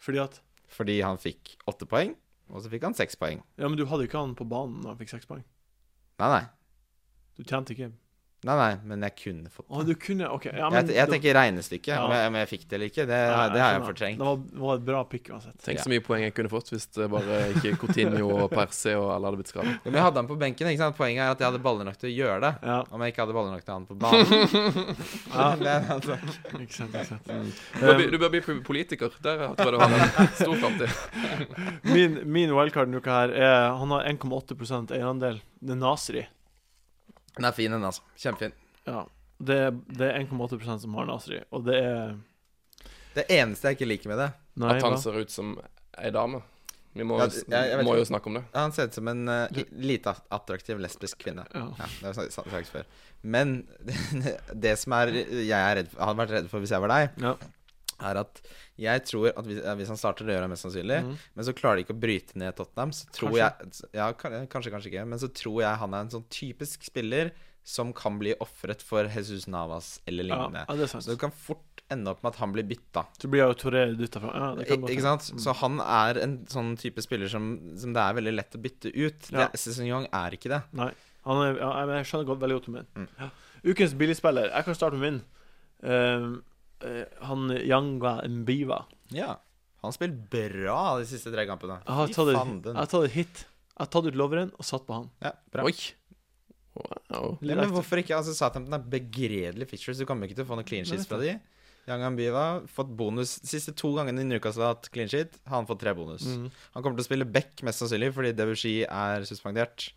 Speaker 1: Fordi at
Speaker 3: Fordi han fikk åtte poeng, og så fikk han seks poeng.
Speaker 1: Ja, men du hadde jo ikke han på banen da han fikk seks poeng.
Speaker 3: Nei, nei.
Speaker 1: Du tjente ikke.
Speaker 3: Nei, nei, men jeg kunne fått
Speaker 1: Å,
Speaker 3: det.
Speaker 1: du kunne OK. Ja, men
Speaker 3: jeg, jeg tenker regnestykket.
Speaker 1: Ja.
Speaker 3: Om, jeg, om jeg fikk det eller ikke, det,
Speaker 1: Nei,
Speaker 3: det har jeg
Speaker 1: skjønner.
Speaker 3: fortrengt.
Speaker 1: Det var, var et bra pick uansett.
Speaker 4: Tenk så mye poeng jeg kunne fått hvis det bare ikke Coutinho og Perse og alle hadde blitt skadet.
Speaker 3: Men jeg hadde han på benken. ikke sant? Poenget er at jeg hadde baller nok til å gjøre det.
Speaker 1: Ja,
Speaker 3: Om jeg ikke hadde baller nok til å ha han på banen.
Speaker 1: Ja.
Speaker 3: Det er altså-
Speaker 1: ikke sant, ikke sant.
Speaker 3: Um,
Speaker 4: Du
Speaker 1: Eh,
Speaker 4: bør bli, du bør bli politiker. Der tror jeg du har en stor framtid.
Speaker 1: Min, min wildcard denne uka her er Han har 1,8 eierandel. Det er Nasri.
Speaker 3: Den er fin, den, altså. Kjempefin.
Speaker 1: Ja. Det, er- det er 1,8 som har Nasri, og det er
Speaker 3: Det eneste jeg ikke liker med det
Speaker 1: Nei,
Speaker 4: At
Speaker 1: hva?
Speaker 4: han ser ut som ei dame. Vi må,
Speaker 3: Ja,
Speaker 4: jo
Speaker 3: det-
Speaker 4: s-
Speaker 3: jeg- jeg vet
Speaker 4: må
Speaker 3: ikke.
Speaker 4: jo snakke om det.
Speaker 3: ja, Han ser ut som en eh, lite at- attraktiv lesbisk kvinne.
Speaker 1: Ja.
Speaker 3: Ja, det har vi snak- snakket før. Men det som er jeg er redd for, hadde vært redd for hvis jeg var deg,
Speaker 1: Ja.
Speaker 3: er at jeg tror at hvis, eh, hvis han starter, det gjør han mest sannsynlig, men så klarer de ikke å bryte ned Tottenham, så tror jeg Ja, kan- eh, kanskje, kanskje ikke, men så tror jeg han er en sånn typisk spiller som kan bli ofret for Jesus Navas eller
Speaker 1: Ja,
Speaker 3: lignende.
Speaker 1: ja, det er sant.
Speaker 3: Så du kan fort ende opp med at han blir bytta.
Speaker 1: Så blir jeg jo Toré dytta fra. Ja, det
Speaker 3: I-
Speaker 1: kan godt
Speaker 3: Ikke
Speaker 1: hende. Mm.
Speaker 3: sant? Så han er en sånn type spiller som, som det er veldig lett å bytte ut.
Speaker 1: Ja.
Speaker 3: Det- Sesongjong er ikke det.
Speaker 1: Nei. Han er, ja, jeg- jeg skjønner godt veldig godt om det.
Speaker 3: Mm.
Speaker 1: Ja. Ukens billigspiller. Jeg kan starte med min. Eh, eh, han Yanga Mbiva.
Speaker 3: Ja. Han spiller bra de siste tre kampene.
Speaker 1: Jeg har
Speaker 3: Fy
Speaker 1: tatt et, jeg
Speaker 3: fanden.
Speaker 1: har tatt et hit. Jeg har tatt ut loveren og satt på han.
Speaker 3: Ja, bra.
Speaker 4: Oi! Wow.
Speaker 3: Ja, men hvorfor ikke? Altså, Southampton er begredelig fixtures. Du kommer ikke til å få noen clean sheets fra de. Yangan Biva fått bonus siste to gangene i Newcastle har hatt clean sheet. Har han fått tre bonus.
Speaker 1: Mm.
Speaker 3: Han kommer til å spille back mest sannsynlig fordi Debussy er suspendert.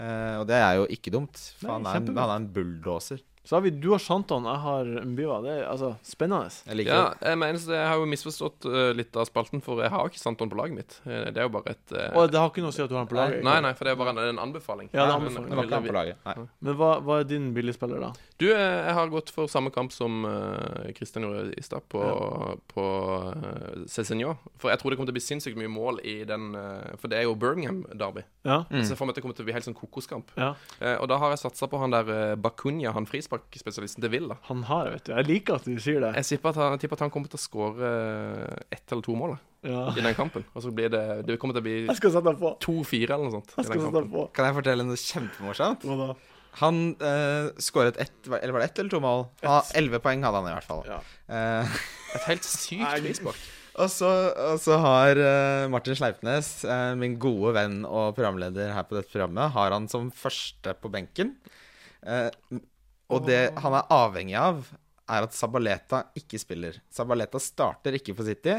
Speaker 3: Eh, og det er jo ikke dumt, for
Speaker 1: Nei,
Speaker 3: han, er en,
Speaker 1: kjempegodt.
Speaker 3: han er en bulldoser.
Speaker 1: Så har vi du har Shanton, jeg har Mbiva. Det er altså spennende.
Speaker 3: Jeg liker
Speaker 4: Ja, jeg mener så jeg har jo misforstått eh, litt av spalten, for jeg har ikke Santon på laget mitt. Eh, Det er jo bare et eh,
Speaker 1: Og det har ikke noe å si at du har han på laget.
Speaker 4: Nei, nei, for det er bare en, en anbefaling.
Speaker 1: Ja, det er
Speaker 4: Men-
Speaker 1: anbefaling.
Speaker 3: det. Det var ikke han på laget. Nei.
Speaker 1: Men hva, hva er din billigspiller, da?
Speaker 4: Du, eh, jeg har gått for samme kamp som eh, Christian gjorde i stad, på, på eh, Cézinho. For jeg tror det kommer til å bli sinnssykt mye mål i den eh, For det er jo Birmingham-derby.
Speaker 1: Ja?
Speaker 4: Så jeg får meg at det kommer til å bli helt sånn kokoskamp.
Speaker 1: ja.
Speaker 4: Eh, og da har jeg satsa på han der eh, Bakunya, han frisparkspesialisten til Villa.
Speaker 1: Han har jeg, vet du. Jeg liker at du sier det.
Speaker 4: Jeg tipper at han, tipper at han kommer til å skåre eh, ett eller to mål da,
Speaker 1: Ja.
Speaker 4: i den kampen. Og så blir det Det kommer til å bli
Speaker 1: Jeg skal sette han på.
Speaker 4: 2-4 eller noe sånt.
Speaker 1: Jeg
Speaker 4: i den
Speaker 1: skal sette han
Speaker 4: kampen.
Speaker 1: på.
Speaker 3: Kan jeg fortelle noe kjempemorsomt?
Speaker 1: Hva da?
Speaker 3: Han eh, skåret ett Eller var det ett eller to mål? Han- Elleve poeng hadde han i hvert fall.
Speaker 1: Ja.
Speaker 3: Eh,
Speaker 4: Et helt sykt frispark.
Speaker 3: og, så, og så har eh, Martin Sleipnes, eh, min gode venn og programleder her på dette programmet, har han som første på benken. Eh, og det han er avhengig av, er at Sabaleta ikke spiller. Sabaleta starter ikke for City.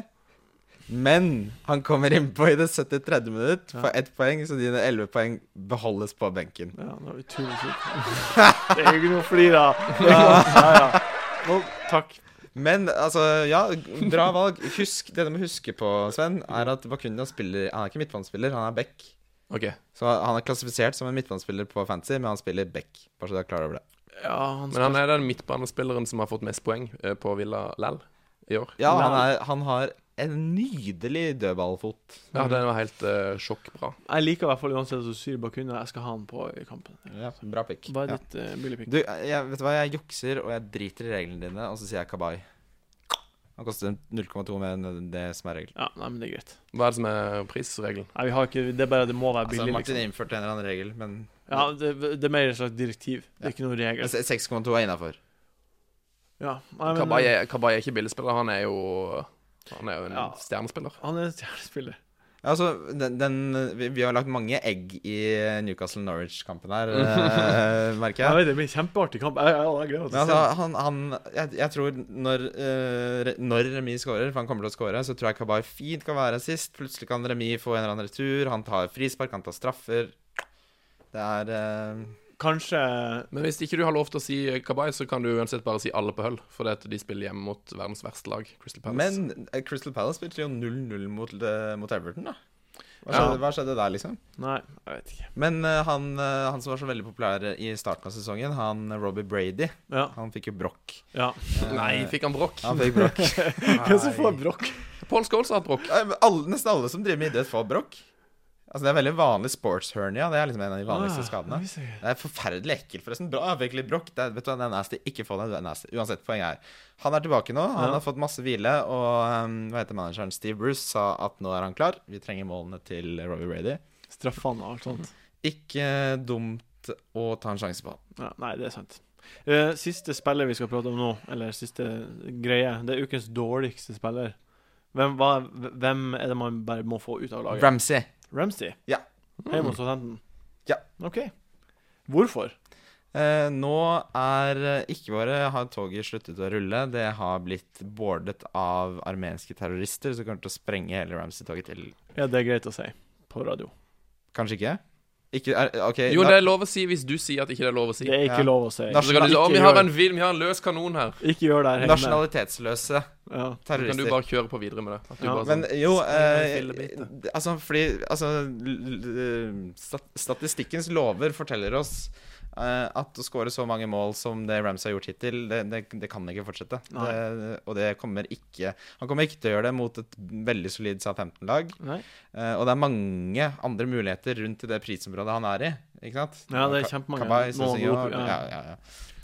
Speaker 3: Men han kommer innpå i det 73. minutt for ett poeng, så dine 11 poeng beholdes på benken.
Speaker 1: Ja, nå er vi turen sjuk. Det er jo ikke noe å flire av. Ja, ja. Nå, takk.
Speaker 3: Men altså, ja, bra valg. Husk, det du må huske på, Sven, er at Bakunia spiller Han er ikke midtbanespiller, han er back.
Speaker 4: OK.
Speaker 3: Så han er klassifisert som en midtbanespiller på fantasy, men han spiller back. Bare så du er klar over det.
Speaker 1: Ja, han
Speaker 4: Men han er den midtbanespilleren som har fått mest poeng eh, på Villa Lell i år.
Speaker 3: Ja, han, er, han har en nydelig dødballfot.
Speaker 4: Ja, den var helt eh, sjokkbra.
Speaker 1: Jeg liker i hvert fall uansett at du sier Bakuna. Jeg skal ha han på i kampen.
Speaker 3: Ja, bra pick.
Speaker 1: Hva er
Speaker 3: Ja.
Speaker 1: ditt uh, billigpick?
Speaker 3: Du, jeg, vet du hva, jeg jukser, og jeg driter i reglene dine, og så sier jeg kabai. Han koster 0,2 mer enn det som er regelen.
Speaker 1: Ja, nei, men det er greit.
Speaker 4: Hva er det som er prisregelen?
Speaker 1: Nei, vi har ikke Det er bare det må være
Speaker 3: Altså,
Speaker 1: billig,
Speaker 3: Martin
Speaker 1: liksom.
Speaker 3: innførte en eller annen regel, men
Speaker 1: Ja, det, det er mer et slags direktiv. Det er ikke noen
Speaker 3: men
Speaker 1: regel.
Speaker 3: 6,2 er innafor.
Speaker 1: Ja, nei, men eh,
Speaker 4: Kabay er, Kabay er ikke billigspiller, han er jo Han er jo en
Speaker 1: Ja.
Speaker 4: stjernespiller.
Speaker 1: Han er en stjernespiller.
Speaker 3: Ja, altså, den, den, vi, vi har lagt mange egg i Newcastle-Norwich-kampen her, eh, merker
Speaker 1: Jeg
Speaker 3: jeg.
Speaker 1: vet, det blir en kjempeartig kamp. Jeg, jeg, jeg gleder meg
Speaker 3: Men
Speaker 1: til å se
Speaker 3: altså,
Speaker 1: den.
Speaker 3: han, han jeg, jeg tror når, eh, re- når Remi skårer, for han kommer til å skåre, så tror jeg Kabay fint kan være sist. Plutselig kan Remi få en eller annen retur. Han tar frispark, han tar straffer. Det er eh,
Speaker 1: Kanskje
Speaker 4: Men hvis ikke du har lov til å si Kabay, så kan du uansett bare si alle på høll. For det at de spiller hjemme mot verdens verste lag, Crystal Palace.
Speaker 3: Men eh, Crystal Palace spilte jo 0-0 mot, eh, mot Everton, da. Hva
Speaker 4: Ja.
Speaker 3: skjedde, hva skjedde der, liksom?
Speaker 1: Nei, jeg vet ikke.
Speaker 3: Men eh, han, eh, han som var så veldig populær i starten av sesongen, han eh, Robbie Brady,
Speaker 1: Ja.
Speaker 3: han fikk jo brokk.
Speaker 1: ja.
Speaker 4: Nei, fikk han brokk?
Speaker 3: Han fikk brokk.
Speaker 1: Hvem som får brokk?
Speaker 4: Paul Scholes har hatt brokk.
Speaker 3: Nei, men alle, nesten alle som driver med idrett, får brokk. Altså, det er veldig vanlig sports hernia. Det er liksom en av de
Speaker 1: Ah,
Speaker 3: vanligste skadene. Det er forferdelig ekkelt, forresten. Bra, jeg fikk litt brokk. Det er, vet du hva, det er nasty. Ikke få det, du er nasty. Uansett, poenget er Han er tilbake nå. Han
Speaker 1: Ja.
Speaker 3: har fått masse hvile, og ehm, hva heter manageren Steve Bruce sa at nå er han klar. Vi trenger målene til Robbie Brady.
Speaker 1: Straffene og alt sånt.
Speaker 3: Ikke eh, dumt å ta en sjanse på han.
Speaker 1: Ja, nei, det er sant. Eh, siste spiller vi skal prate om nå, eller siste greie, det er ukens dårligste spiller. Hvem, hva, hvem er det man bare må få ut av laget?
Speaker 3: Ramsey.
Speaker 1: Ramsey?
Speaker 3: Ja. Mm.
Speaker 1: Hei mot Southampton?
Speaker 3: Ja.
Speaker 1: OK. Hvorfor?
Speaker 3: Eh, nå er eh, ikke bare har toget sluttet å rulle, det har blitt boardet av armenske terrorister som kommer til å sprenge hele Ramsey-toget til
Speaker 1: Ja, det er greit å si på radio.
Speaker 3: Kanskje ikke? Ikke er, OK.
Speaker 4: Jo,
Speaker 3: na-
Speaker 4: det er lov å si hvis du sier at ikke det er lov å si.
Speaker 1: Det er ikke
Speaker 3: Ja.
Speaker 1: lov å si.
Speaker 3: Nasjonal-
Speaker 4: Så kan du si,
Speaker 1: ikke
Speaker 4: «Å, vi har
Speaker 1: gjør-
Speaker 4: en, vil, vi har en løs kanon her.
Speaker 1: Ikke gjør det her hjemme.
Speaker 3: Nasjonalitetsløse
Speaker 1: Ja.
Speaker 4: Så kan du
Speaker 3: terrorister.
Speaker 4: bare kjøre på videre med det. At du
Speaker 1: Ja,
Speaker 4: bare sånn,
Speaker 3: Men jo eh,
Speaker 4: Spinn meg i fillebiter.
Speaker 3: Altså, fordi altså, l- l- stat- Statistikkens lover forteller oss eh, at å skåre så mange mål som det Rams har gjort hittil, det, det, det kan ikke fortsette. Det,
Speaker 1: Nei.
Speaker 3: og det kommer ikke Han kommer ikke til å gjøre det mot et veldig solid Southampton-lag.
Speaker 1: Nei.
Speaker 3: Eh, og det er mange andre muligheter rundt i det prisområdet han er i. Ikke sant?
Speaker 1: Ja, det er
Speaker 3: Ka-
Speaker 1: kjempemange.
Speaker 3: Kabay,
Speaker 1: Må han
Speaker 3: Sosio,
Speaker 1: gå opp, ja.
Speaker 3: ja, ja, ja.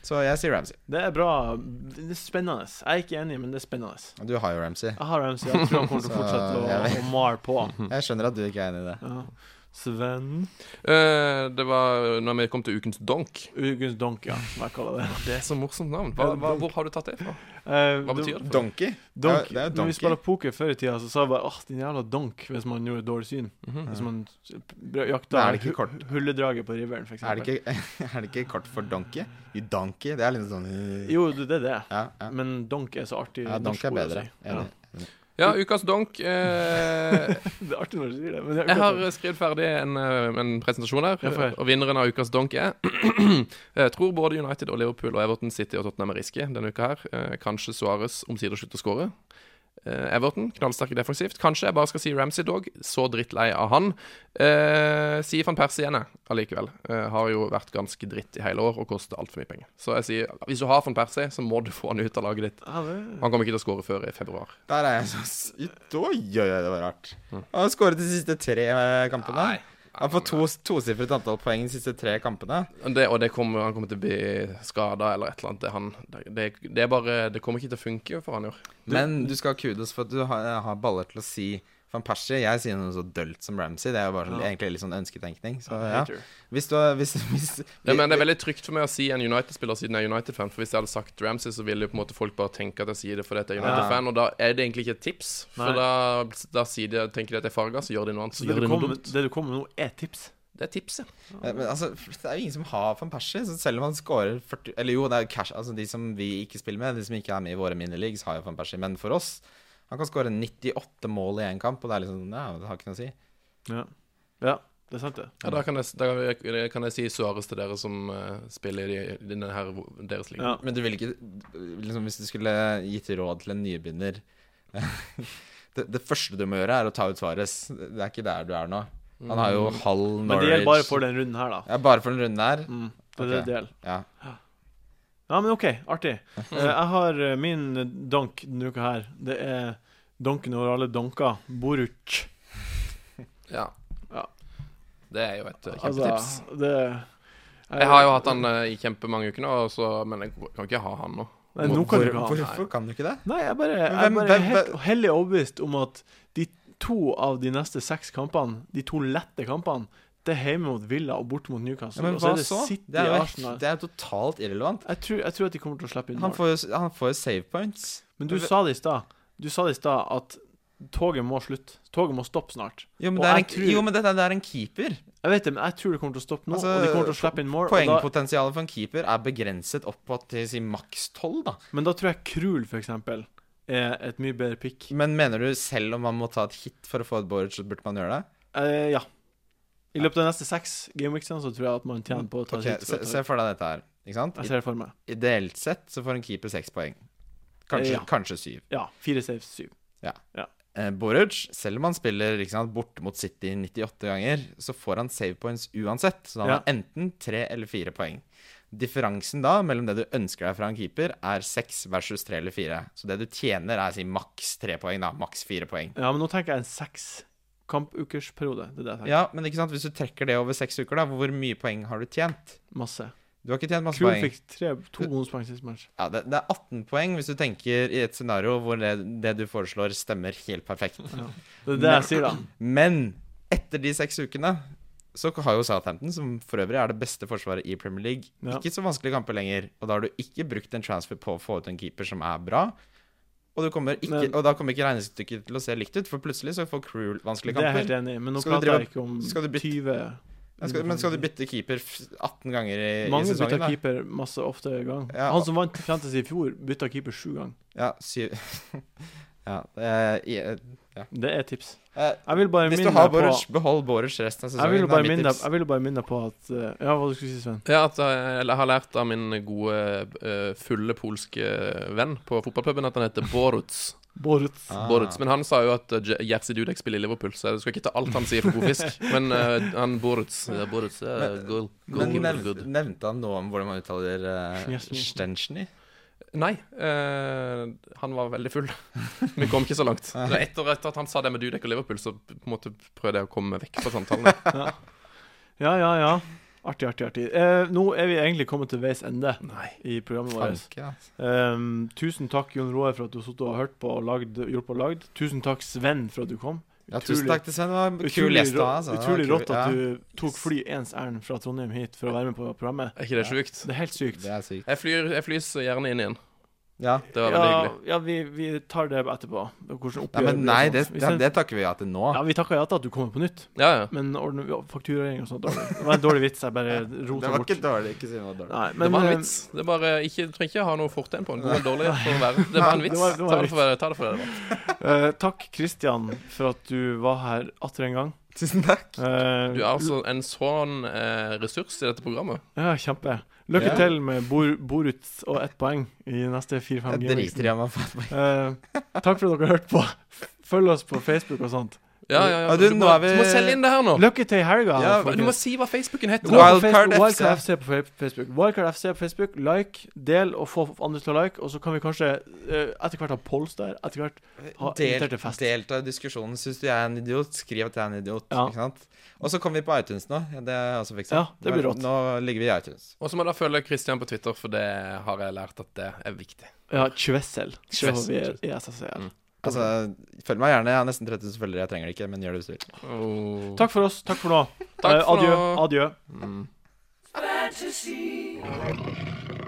Speaker 3: Så jeg sier Ramsey.
Speaker 1: Det er bra. Det er spennende. Jeg er ikke enig, men det er spennende.
Speaker 3: Du har jo Ramsey.
Speaker 1: Jeg har Ramsey. Jeg tror han kommer til å
Speaker 3: Så,
Speaker 1: fortsette
Speaker 3: jeg
Speaker 1: å,
Speaker 3: vet.
Speaker 1: å male på.
Speaker 3: Jeg skjønner at du ikke er enig i det.
Speaker 1: Ja. Sven
Speaker 4: eh, det var når vi kom til ukens donk.
Speaker 1: Ugunst Donk, ja. Hva jeg kaller det.
Speaker 4: Det er så morsomt navn. Hva, hva, hvor har du tatt det fra?
Speaker 1: Eh,
Speaker 4: Hva betyr det? for?
Speaker 3: Donkey?
Speaker 1: Donk.
Speaker 3: Ja, det er jo
Speaker 1: Når vi
Speaker 3: donkey.
Speaker 1: spiller poker før i tida, så sa jeg bare åh, din jævla donk, hvis man gjorde dårlig syn.
Speaker 4: Mhm.
Speaker 1: Hvis man
Speaker 3: Da
Speaker 1: jakta
Speaker 3: er det ikke kort.
Speaker 1: hulledraget på riveren, f.eks.
Speaker 3: Er det, ikke, er det ikke kort for donkey? You donkey? Det er litt sånn øh.
Speaker 1: Jo, det det er det.
Speaker 3: Ja, ja.
Speaker 1: Men donk er så artig.
Speaker 3: ja
Speaker 1: norsk
Speaker 3: donkey er
Speaker 1: ord å
Speaker 3: bedre.
Speaker 1: si. Ja.
Speaker 3: Enig. Enig.
Speaker 4: Ja, ukas donk. Eh,
Speaker 1: Det er artig når du sier det. Men det er
Speaker 4: jeg har
Speaker 1: akkurat-
Speaker 4: skrevet ferdig en, eh, en presentasjon her.
Speaker 1: Ja, få høre.
Speaker 4: Og vinneren av ukas donk er Jeg tror både United og Liverpool og Everton City og Tottenham er risky denne uka her. Eh, Kanskje Suarez omsider slutter å skåre. Eh, Everton, knallsterke defensivt. Kanskje jeg bare skal si Ramsey Dog. Så drittlei av han. Eh, sier van Persie igjen, jeg, allikevel. Eh, har jo vært ganske dritt i hele år og koster altfor mye penger. Så jeg sier, hvis du har van Persie, så må du få han ut av laget ditt.
Speaker 1: Ja, det-
Speaker 4: Han kommer ikke til å skåre før i februar.
Speaker 3: Der er jeg så s- Oi, oi, oi, det var rart. Han har skåret de siste tre eh, kampene.
Speaker 4: Nei.
Speaker 3: Han får to tosifret antall poeng de siste tre kampene.
Speaker 4: Det, og det kommer, han kommer til å bli skada eller et eller annet. Det, han, det, det, er bare, det kommer ikke til å funke for han i år.
Speaker 3: Men du skal ha kudos for at du har, har baller til å si van Persie. Jeg sier noe så dølt som Ramsey. Det er jo bare sånn,
Speaker 1: Ja.
Speaker 3: egentlig litt sånn ønsketenkning. Så ja.
Speaker 1: hater.
Speaker 3: Hvis du har hvis, hvis,
Speaker 4: Det, men det er veldig trygt for meg å si en United-spiller siden jeg er United-fan. For hvis jeg hadde sagt Ramsey, så ville jo på en måte folk bare tenke at jeg sier det fordi at jeg er United-fan. Og da er det egentlig ikke et tips,
Speaker 1: Nei.
Speaker 4: for da, da sier de, tenker de at jeg er farga, så gjør de noe annet. Så
Speaker 1: det,
Speaker 4: gjør
Speaker 1: du
Speaker 4: de noe
Speaker 1: kommer,
Speaker 4: dumt.
Speaker 1: det du kommer med nå, er tips.
Speaker 4: Det er tipset.
Speaker 3: Eh, Men altså, det er jo ingen som har van Persie, så selv om han scorer 40 Eller jo, det er jo cash Altså, de som vi ikke spiller med, de som ikke er med i våre minileagues, har jo van Persie. Men for oss Han kan score 98 mål i én kamp, og det er liksom Ja, det har ikke noe å si.
Speaker 1: Ja. ja, det er sant, det.
Speaker 4: Ja, da kan jeg, da kan jeg si Suarez til dere som eh, spiller i i denne her, deres liga.
Speaker 1: Ja.
Speaker 3: Men du vil ikke Liksom, hvis du skulle gitt råd til en nybegynner det, det første du må gjøre, er å ta ut Svares. Det er ikke der du er nå. Han har jo halv Norwich
Speaker 1: Mm. Men det gjelder bare for den runden her, da.
Speaker 3: Ja, bare for den runden her.
Speaker 1: Mm, det er det
Speaker 3: Ok.
Speaker 1: det gjelder.
Speaker 3: Ja.
Speaker 1: Ja, men OK, artig. Eh, jeg har eh, min donk denne uka her. Det er donken over alle donker. Boruc.
Speaker 4: Ja.
Speaker 1: Ja.
Speaker 4: Det er jo et eh, kjempetips.
Speaker 1: Altså, det
Speaker 4: Jeg har jo hatt han eh, i kjempemange uker nå, og så- men jeg kan ikke ha han nå.
Speaker 1: Nei, nå kan du ikke ha han.
Speaker 3: Hvorfor kan du ikke det?
Speaker 1: Nei, jeg bare, jeg
Speaker 3: hvem-
Speaker 1: bare er
Speaker 3: hvem-
Speaker 1: helt
Speaker 3: hvem-
Speaker 1: hellig overbevist om at de to av de neste seks kampene, de to lette kampene, det er hjemme mot Villa og borte mot Newcastle.
Speaker 3: Ja, men
Speaker 1: og så
Speaker 3: hva
Speaker 1: er det
Speaker 3: så?
Speaker 1: City
Speaker 3: Det er jo
Speaker 1: Arsenal.
Speaker 3: helt- det er jo totalt irrelevant.
Speaker 1: Jeg tror, jeg tror at de kommer til å slippe inn
Speaker 3: Han
Speaker 1: mål.
Speaker 3: får, jo, han får jo save points.
Speaker 1: Men du sa det i stad Du sa det i stad at toget må slutte. Toget må stoppe snart.
Speaker 3: Jo, men,
Speaker 1: Og
Speaker 3: det er
Speaker 1: jeg
Speaker 3: en,
Speaker 1: tror-
Speaker 3: jo, men dette, det er en keeper.
Speaker 1: Jeg vet det, men jeg tror det kommer til å stoppe nå,
Speaker 3: Altså,
Speaker 1: og de kommer til å slippe inn mål. og Da,
Speaker 3: Poengpotensialet for en keeper er begrenset opp på til si maks 12, da.
Speaker 1: men da tror jeg Krul, for eksempel, er et mye bedre pick.
Speaker 3: Men mener du selv om man må ta et hit for å få et board, så burde man gjøre det?
Speaker 1: Eh, ja. I løpet av de neste seks gameweeksene så tror jeg at man tjener på å ta Altså-
Speaker 3: Ok,
Speaker 1: sitt.
Speaker 3: se, se for deg dette her. Ikke sant?
Speaker 1: Jeg ser det for meg.
Speaker 3: I- Ideelt sett så får en keeper seks poeng. Kanskje,
Speaker 1: Ja.
Speaker 3: kanskje syv.
Speaker 1: Ja. Fire saves, syv.
Speaker 3: Eh, Boruc, selv om han spiller ikke sant, borte mot City 98 ganger, så får han save points uansett. Så da har
Speaker 1: Ja.
Speaker 3: han enten tre eller fire poeng. Differansen da mellom det du ønsker deg fra en keeper, er seks versus tre eller fire. Så det du tjener, er si maks tre poeng, da. Maks fire poeng.
Speaker 1: Ja, men nå tenker jeg en seks kampukersperiode. Det er det jeg tenker.
Speaker 3: Ja, men ikke sant, hvis du trekker det over seks uker, da, hvor mye poeng har du tjent?
Speaker 1: Masse.
Speaker 3: Du har ikke tjent masse
Speaker 1: Crew
Speaker 3: poeng.
Speaker 1: fikk tre, to bonuspoeng sist match.
Speaker 3: Ja, det, det er 18 poeng hvis du tenker i et scenario hvor det, det du foreslår, stemmer helt perfekt.
Speaker 1: Det er det jeg sier, da.
Speaker 3: Men etter de seks ukene så har jo Southampton, som for øvrig er det beste forsvaret i Premier League,
Speaker 1: Ja.
Speaker 3: ikke så vanskelige kamper lenger. Og da har du ikke brukt en transfer på å få ut en keeper som er bra. Og, du kommer ikke,
Speaker 1: Men-
Speaker 3: og da kommer ikke regnestykket til å se likt ut, for plutselig så får Crew
Speaker 1: Det
Speaker 3: vanskelige
Speaker 1: er jeg
Speaker 3: kamper.
Speaker 1: helt enig i, men nå
Speaker 3: Skal du
Speaker 1: prater jeg ikke om
Speaker 3: skal du bytte-
Speaker 1: 20
Speaker 3: Men skal, men skal du bytte keeper f- 18 ganger i, i
Speaker 1: Mange bytta
Speaker 3: sesongen? da?
Speaker 1: keeper masse ofte gang.
Speaker 3: Ja.
Speaker 1: Han som vant Fantasy i fjor, bytta keeper sju ganger.
Speaker 3: Ja, syv Ja, eh, i-
Speaker 1: Det er tips.
Speaker 3: eh,
Speaker 1: Jeg vil bare
Speaker 3: hvis
Speaker 1: minne
Speaker 3: du har
Speaker 1: deg på
Speaker 3: Boruch, behold Boruch resten av
Speaker 1: jeg vil
Speaker 3: sesongen.
Speaker 1: bare
Speaker 3: Det er mitt
Speaker 1: minne deg-
Speaker 3: tips.
Speaker 1: jeg vil bare minne deg på at eh, Ja, hva du skulle si, Sven?
Speaker 4: Ja, at jeg jeg har lært av min gode, eh, fulle polske eh, venn på fotballpuben at han heter Boruts.
Speaker 1: Borut.
Speaker 3: Ah.
Speaker 4: Boruts. Men han sa jo at eh, Je- Jerzy Dudek spiller i Liverpool, så du skal ikke ta alt han sier for god fisk. Men eh, han Boruts ja, Boruts er
Speaker 3: Men-
Speaker 4: goal,
Speaker 3: Men
Speaker 4: goalkeeper,
Speaker 3: nev,
Speaker 4: good.
Speaker 3: nevnte han noe om hvordan man uttaler uh,
Speaker 1: Schnersny.
Speaker 3: Stensny?
Speaker 4: Nei, eh, han var veldig full. Vi kom ikke så langt. Men etter, etter at han sa det med Dudek og Liverpool, så på en måte prøvde jeg å komme meg vekk fra samtalen.
Speaker 1: Ja, ja, ja. Artig, artig, artig. Eh, nå er vi egentlig kommet til veis ende
Speaker 4: Nei.
Speaker 1: i programmet vårt.
Speaker 3: Fanke, altså.
Speaker 1: Ehm, tusen takk, Jon Roar, for at du har sittet og hørt på og lagd, hjulpet og lagd. Tusen takk, Sven, for at du kom.
Speaker 3: Ja, tusen
Speaker 1: Utrolig-
Speaker 3: takk til Sven. Det var en kul
Speaker 1: Utrolig
Speaker 3: gjest da.
Speaker 1: rå-
Speaker 3: Altså. Det var
Speaker 1: Utrolig
Speaker 3: kul-
Speaker 1: rått at
Speaker 3: ja.
Speaker 1: du tok fly ens ærend fra Trondheim hit for å være med på programmet.
Speaker 4: Er ikke det sjukt?
Speaker 1: Det er helt sykt.
Speaker 3: Det er sykt.
Speaker 4: Jeg, flyr, jeg flys gjerne inn igjen.
Speaker 3: Ja.
Speaker 4: Det var veldig
Speaker 1: ja,
Speaker 4: hyggelig.
Speaker 1: ja vi, vi tar det etterpå. Hvordan
Speaker 3: Nei,
Speaker 1: oppgjøret
Speaker 3: men
Speaker 1: blir
Speaker 3: nei,
Speaker 1: og
Speaker 3: det,
Speaker 1: sånt. Vi
Speaker 3: ja,
Speaker 1: sender-
Speaker 3: det takker vi ja til nå.
Speaker 1: ja, vi takker ja til at du kommer på nytt,
Speaker 4: Ja, ja.
Speaker 1: men ordner vi fakturering og sånt da. Det var en dårlig vits, jeg bare
Speaker 3: Det
Speaker 1: rota
Speaker 3: var
Speaker 1: bort.
Speaker 3: ikke dårlig. Ikke si det var dårlig.
Speaker 1: Nei,
Speaker 4: det
Speaker 1: men,
Speaker 4: var
Speaker 1: eh,
Speaker 4: en vits. Det er bare, ikke, trenger ikke ha noe fortegn på den. God eller dårlig for å være Det var en vits.
Speaker 1: det var- det var
Speaker 4: ta,
Speaker 1: en
Speaker 4: det for, ta det for det det var.
Speaker 1: eh, takk, Kristian, for at du var her atter en gang.
Speaker 3: Tusen takk.
Speaker 1: Eh,
Speaker 4: Du er altså en sånn eh, ressurs i dette programmet.
Speaker 1: Ja, kjempe. Lykke
Speaker 3: Ja.
Speaker 1: til med Bor Boruts og ett poeng i neste
Speaker 3: Jeg
Speaker 1: 4-5
Speaker 3: driter
Speaker 1: gamer.
Speaker 3: i om han får
Speaker 1: takk for at dere har hørt på. Følg oss på Facebook og sånt.
Speaker 4: Ja, ja, ja.
Speaker 3: Ja, du,
Speaker 4: må-
Speaker 3: nå er vi-
Speaker 4: Du må selge inn det her nå.
Speaker 1: Lykke til i helga.
Speaker 3: Ja,
Speaker 4: Du må
Speaker 1: folkens.
Speaker 4: si hva Facebooken
Speaker 1: Gå
Speaker 4: heter.
Speaker 1: på
Speaker 4: da.
Speaker 3: Wildcard
Speaker 1: Facebook-
Speaker 3: FC.
Speaker 1: Wildcard FC på fe- Facebook. Wildcard FC på Facebook. Like, del og få andre til å like. Og så kan vi kanskje eh, etter hvert ha polls der. Etter hvert Ha invitert til
Speaker 3: Del,
Speaker 1: fest.
Speaker 3: delta i diskusjonen. Syns du jeg er en idiot, skriv at jeg er en idiot.
Speaker 1: Ja.
Speaker 3: Ikke sant? Og så kommer vi på iTunes nå. Ja, Det er jeg også fiksa.
Speaker 1: Ja, det blir
Speaker 3: Nå-
Speaker 1: rått.
Speaker 3: Nå ligger vi i iTunes.
Speaker 4: Og så må du følge Christian på Twitter, for det har jeg lært at det er viktig.
Speaker 1: Ja, Kvessel. Så
Speaker 4: Kvessel.
Speaker 1: vi er i SSL.
Speaker 4: Mm.
Speaker 3: Altså, følg meg gjerne. Jeg har nesten 3000 følgere. Jeg trenger det ikke, men gjør det hvis du vil.
Speaker 4: Oh.
Speaker 1: Takk for oss. Takk for nå.
Speaker 4: Takk Mm.
Speaker 1: Eh,
Speaker 4: for
Speaker 1: adjø.
Speaker 4: nå.
Speaker 1: Adjø.
Speaker 4: Mm.